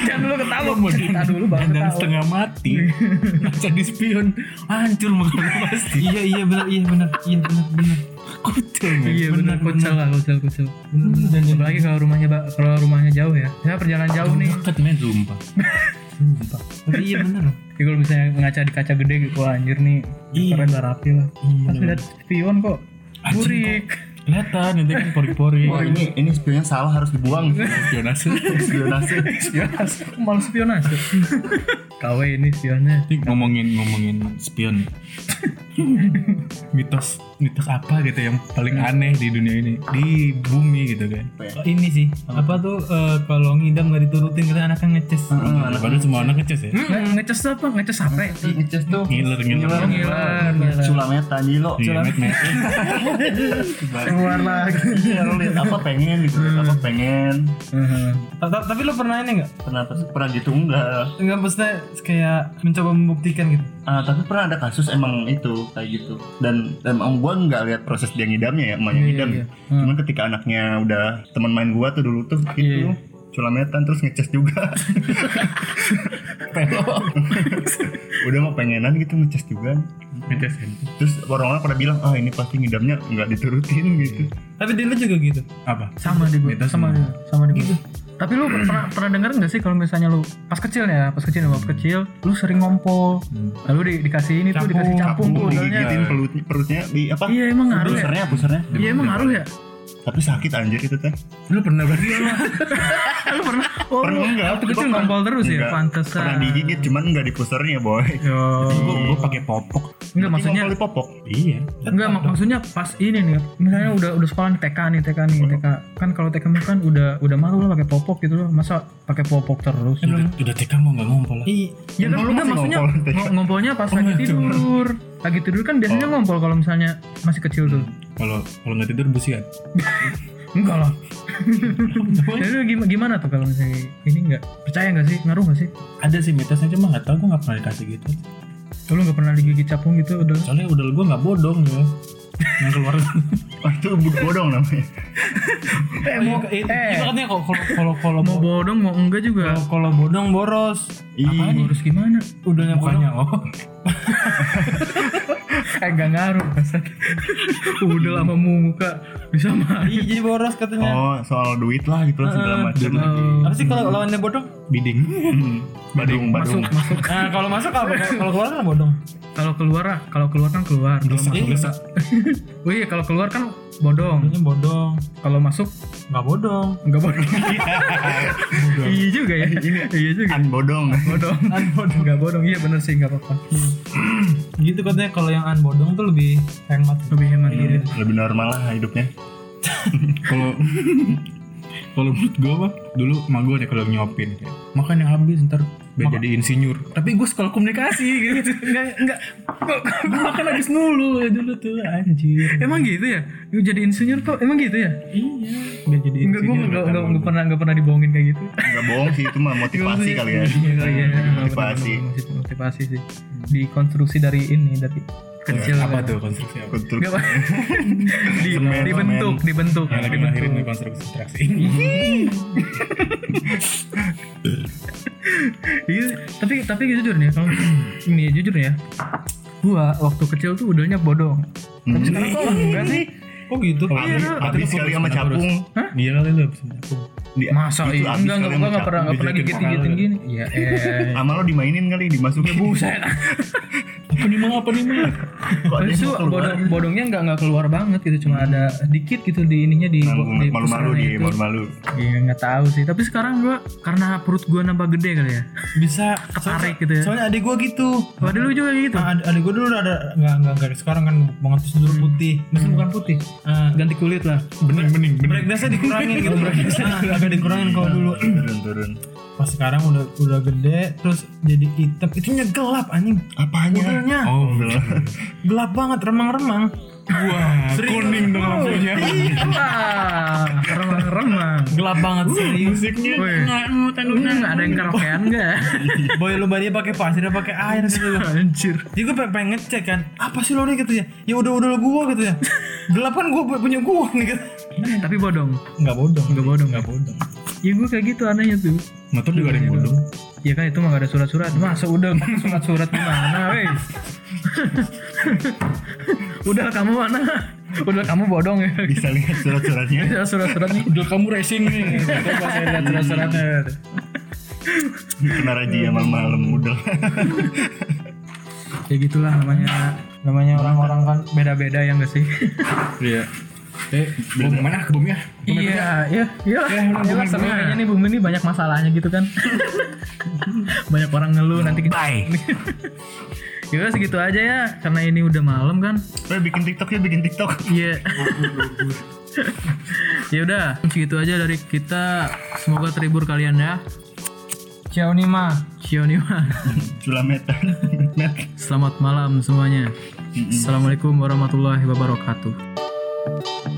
Speaker 4: jangan dulu ketawa kita dulu bang
Speaker 2: dan
Speaker 4: ketawa
Speaker 2: setengah mati kaca di spion hancur makanya pasti
Speaker 6: iya iya benar iya benar iya benar benar
Speaker 2: kucel
Speaker 4: iya bener kucel lah kucel kucel dan apalagi kalau rumahnya ba- kalau rumahnya jauh ya saya perjalanan jauh nih
Speaker 2: deket men sumpah Sumpah.
Speaker 6: tapi iya benar loh
Speaker 4: Ya kalau misalnya ngaca di kaca gede gitu wah anjir nih
Speaker 2: Iya.
Speaker 4: keren udah rapi lah.
Speaker 6: Iya,
Speaker 4: Pas lihat spion kok burik.
Speaker 2: kelihatan nanti kan pori-pori
Speaker 1: Wah ini ini spionnya salah harus dibuang
Speaker 2: spionase
Speaker 1: Spionase
Speaker 4: Malu spion aja. Kawe ini spionnya.
Speaker 2: Ini ngomongin ngomongin spion mitos mitos apa gitu yang paling aneh di dunia ini di bumi gitu kan
Speaker 6: Oh, ini sih apa tuh eh, kalau ngidam gak diturutin kita anaknya ngeces
Speaker 2: padahal semua anak ngeces ya
Speaker 4: Nge- Ngeces apa? Ngeces apa?
Speaker 1: Ngeces tuh
Speaker 2: ngiler ngiler
Speaker 1: Ngiler,
Speaker 6: Iya,
Speaker 4: Ngiler,
Speaker 1: ngiler. Sulameta jadi lo
Speaker 2: Ngimet, ngimet.
Speaker 1: Keluar lagi Iya, Lo liat apa pengen gitu liat apa pengen
Speaker 6: Ta- ta- tapi lo pernah ini nggak
Speaker 1: Pernah pernah ditunggal
Speaker 6: nggak maksudnya kayak mencoba membuktikan gitu
Speaker 1: Ah, tapi pernah ada kasus emang itu kayak gitu dan dan emang gua nggak lihat proses dia ngidamnya ya emaknya
Speaker 4: Iya,
Speaker 1: ngidam ya. cuman
Speaker 4: Hmm.
Speaker 1: ketika anaknya udah teman main gua tuh dulu
Speaker 4: Iya,
Speaker 1: tuh itu culametan terus ngeces juga Pelok. udah mau pengenan gitu ngeces juga
Speaker 2: ngeces kan
Speaker 1: terus orang-orang pada bilang ah ini pasti ngidamnya nggak diturutin gitu
Speaker 6: tapi dia juga gitu
Speaker 2: apa
Speaker 4: Sama di gua. Sama di sama di
Speaker 1: Iya.
Speaker 4: gua. Tapi lu pernah pernah dengar nggak sih kalau misalnya lu pas kecil ya, pas kecil pas kecil, lu sering ngompol.
Speaker 1: Hmm.
Speaker 4: Lalu di- dikasih ini tuh dikasih capung tuh modelnya.
Speaker 1: digigitin pelutnya perutnya di apa
Speaker 4: Iya emang ngaruh ya.
Speaker 1: pusernya pusernya
Speaker 4: Iya emang ngaruh ya.
Speaker 1: tapi sakit anjir itu teh
Speaker 2: lu pernah berarti ya?
Speaker 4: Lu pernah? Oh,
Speaker 1: Pernah
Speaker 4: lu
Speaker 1: enggak?
Speaker 4: Waktu
Speaker 1: Gua
Speaker 4: kecil
Speaker 1: pernah.
Speaker 4: ngompol terus ya,
Speaker 1: Enggak.
Speaker 4: pantesan.
Speaker 1: pernah digigit cuman nggak di pusernya boy
Speaker 4: Yo.
Speaker 2: gua gua
Speaker 1: Oh.
Speaker 2: pakai popok
Speaker 4: Enggak maksudnya
Speaker 1: Ngompol di popok
Speaker 2: iya
Speaker 4: Enggak mak- maksudnya pas ini nih misalnya udah udah sekolah nih, TK nih TK nih TK kan kalau TK mah kan udah udah malu lah pakai popok gitu loh masa pakai popok terus
Speaker 2: udah, udah TK mau nggak ngompol lah
Speaker 6: Ih,
Speaker 4: ya kan
Speaker 1: Emang lu
Speaker 4: enggak
Speaker 1: masih
Speaker 4: maksudnya
Speaker 1: ngompol Oh, TK?
Speaker 4: ngo- ngompolnya pas lagi
Speaker 1: iya,
Speaker 4: tidur lagi tidur kan biasanya
Speaker 1: Oh.
Speaker 4: ngompol kalau misalnya masih kecil tuh
Speaker 2: kalau kalau nggak tidur kan? busian
Speaker 4: enggak lah jadi lu gim- gimana tuh kalau misalnya ini enggak percaya enggak sih ngaruh enggak sih
Speaker 2: ada sih mitosnya cuma nggak tahu gua nggak pernah dikasih gitu
Speaker 4: lu enggak pernah digigit capung gitu udah
Speaker 2: soalnya udel gua nggak bodong ya yang keluar
Speaker 1: Oh, itu bud bodong namanya.
Speaker 4: eh mau
Speaker 6: eh, itu katanya kok kalau kalau kalau
Speaker 4: mau bodong mau enggak juga
Speaker 1: Oh,
Speaker 6: kalau- kalau bodong boros
Speaker 1: Ih,
Speaker 4: harus gimana
Speaker 6: udahnya
Speaker 2: mukanya oh
Speaker 4: eh enggak ngaruh Ustaz. udah lama muka bisa mati
Speaker 6: Iya jadi boros katanya.
Speaker 1: oh soal duit lah gitu lah segala macam.
Speaker 4: Eh,
Speaker 6: Apa sih kalau lawannya bodong?
Speaker 2: bidding
Speaker 1: Hmm, Badung, badung.
Speaker 4: masuk masuk
Speaker 6: Nah, kalau masuk apa? Kalau keluar kan bodong. Iya.
Speaker 4: kalau keluar ah, kalau keluar kan keluar kalau
Speaker 2: Gesak,
Speaker 4: masuk
Speaker 2: gesak.
Speaker 4: oh iya kalau keluar kan bodong
Speaker 6: Ini bodong.
Speaker 4: kalau masuk
Speaker 6: Enggak bodong.
Speaker 4: nggak bodong iya juga ya iya juga
Speaker 1: An Kan bodong.
Speaker 4: bodong nggak bodong iya bener sih nggak apa-apa
Speaker 6: Gitu katanya kalau yang an bodong tuh lebih hemat.
Speaker 4: lebih hemat iya.
Speaker 1: Lebih normal lah hidupnya.
Speaker 2: kalau kalau menurut gue mah dulu mah gue ada kalau nyopin kayak, makan yang habis ntar biar jadi insinyur tapi gue sekolah komunikasi gitu
Speaker 4: nggak Eh, nggak
Speaker 2: gue makan Kan habis mulu ya dulu tuh anjir
Speaker 4: emang gitu ya lu jadi insinyur tuh emang gitu ya
Speaker 2: iya biar jadi
Speaker 4: nggak gue
Speaker 2: insinyur
Speaker 4: nggak
Speaker 2: kata
Speaker 4: nggak
Speaker 2: gua.
Speaker 4: nggak pernah nggak pernah dibohongin kayak gitu
Speaker 1: Enggak bohong sih itu mah motivasi kali ya.
Speaker 4: Iya, iya, bener-bener,
Speaker 1: Motivasi.
Speaker 4: motivasi motivasi sih dikonstruksi dari ini dari kecil
Speaker 2: apa
Speaker 4: kan.
Speaker 2: tuh konstruksi apa
Speaker 1: Konstruk-
Speaker 4: Nggak apa- Di-
Speaker 1: Semen,
Speaker 4: dibentuk dibentuk
Speaker 2: yang lagi
Speaker 4: dibentuk
Speaker 2: ngelahirin nih konstruksi interaksi
Speaker 4: Iya, tapi tapi jujur nih kalau ini jujur ya. Gua waktu kecil tuh udahnya bodong. Tapi sekarang kok enggak sih? Iya,
Speaker 6: Kok gitu?
Speaker 1: Hmm. Habis, habis kali sama capung.
Speaker 2: iya kali lu habis capung
Speaker 1: Di-
Speaker 4: Masa
Speaker 1: itu
Speaker 4: iya?
Speaker 1: habis
Speaker 4: Enggak, enggak,
Speaker 1: kali
Speaker 4: gua
Speaker 1: sama
Speaker 4: enggak pernah Iya, enggak pernah
Speaker 2: dijahitin
Speaker 4: gigit-gigitin
Speaker 2: kepala.
Speaker 4: gini. Iya, eh.
Speaker 1: Sama lo dimainin kali dimasukin.
Speaker 4: Buset.
Speaker 6: apa nih mang apa nih mang
Speaker 1: Kok dia
Speaker 4: Terus tuh
Speaker 1: mau keluar?
Speaker 4: bodong, bodongnya nggak nggak keluar banget gitu, cuma ada dikit gitu di ininya di
Speaker 1: Nanggung,
Speaker 4: di
Speaker 1: Nah, Malu-malu
Speaker 4: pusaranya
Speaker 1: di
Speaker 4: itu.
Speaker 1: malu-malu.
Speaker 4: Iya nggak tahu sih, tapi sekarang gua karena perut gua nambah gede kali ya.
Speaker 6: bisa
Speaker 4: Tertarik gitu ya.
Speaker 6: soalnya adik gue gitu
Speaker 4: Waduh lu juga gitu.
Speaker 6: Nah, ada, gue dulu ada nggak nggak nggak sekarang kan banget terus dulu putih, maksudnya bukan putih, eh,
Speaker 4: Ganti kulit lah.
Speaker 6: bening bening bening. Breakdance-nya dikurangin gitu, Ah, agak dikurangin kalau dulu.
Speaker 1: Turun-turun.
Speaker 6: Pas sekarang udah udah gede, terus jadi hitam, itu gelap anjing.
Speaker 1: Apanya?
Speaker 6: Modelnya
Speaker 2: Oh,
Speaker 6: gelap banget, remang-remang. Wah, kuning dong lampunya.
Speaker 4: Wah, remang-remang.
Speaker 6: gelap banget serius.
Speaker 4: Musiknya. Nggak ada yang karaokean nggak?
Speaker 6: Boy lu badannya pakai pasir, pakai air gitu.
Speaker 4: Anjir.
Speaker 6: Jadi gue pengen, pengen ngecek kan, apa sih lo nih gitu ya? Ya udah udah lo gua gitu ya. Gelap kan gua punya gua nih gitu.
Speaker 4: Tapi bodong.
Speaker 6: Enggak bodong. Enggak bodong, enggak bodong.
Speaker 4: Ya gua kayak gitu anehnya tuh.
Speaker 6: Motor juga ada
Speaker 1: Iya.
Speaker 6: yang bodong.
Speaker 4: Ya kan itu mah gak ada surat-surat. Masa udah surat-surat gimana, weh? udah kamu mana? Udah kamu bodong ya.
Speaker 1: Bisa lihat surat-suratnya.
Speaker 4: Bisa surat-surat nih.
Speaker 6: Udah kamu racing nih. Udah pas saya lihat surat-suratnya.
Speaker 1: Kena razia malam-malam udah.
Speaker 4: Ya gitulah namanya namanya orang-orang kan beda-beda ya enggak sih?
Speaker 6: Iya. Eh, bom mana? Bom ya?
Speaker 4: iya, iya, iya. Ya, sama kayaknya nih bumi ini banyak masalahnya gitu kan. banyak orang ngeluh nanti kita.
Speaker 2: bye.
Speaker 4: Ya udah segitu aja ya karena ini udah malam kan.
Speaker 1: Eh bikin TikTok ya bikin TikTok.
Speaker 4: Iya. ya udah segitu aja dari kita. Semoga terhibur kalian ya. Ciao Nima. Ciao Nima.
Speaker 1: Culametan. Met.
Speaker 4: Selamat malam semuanya. Assalamualaikum warahmatullahi wabarakatuh.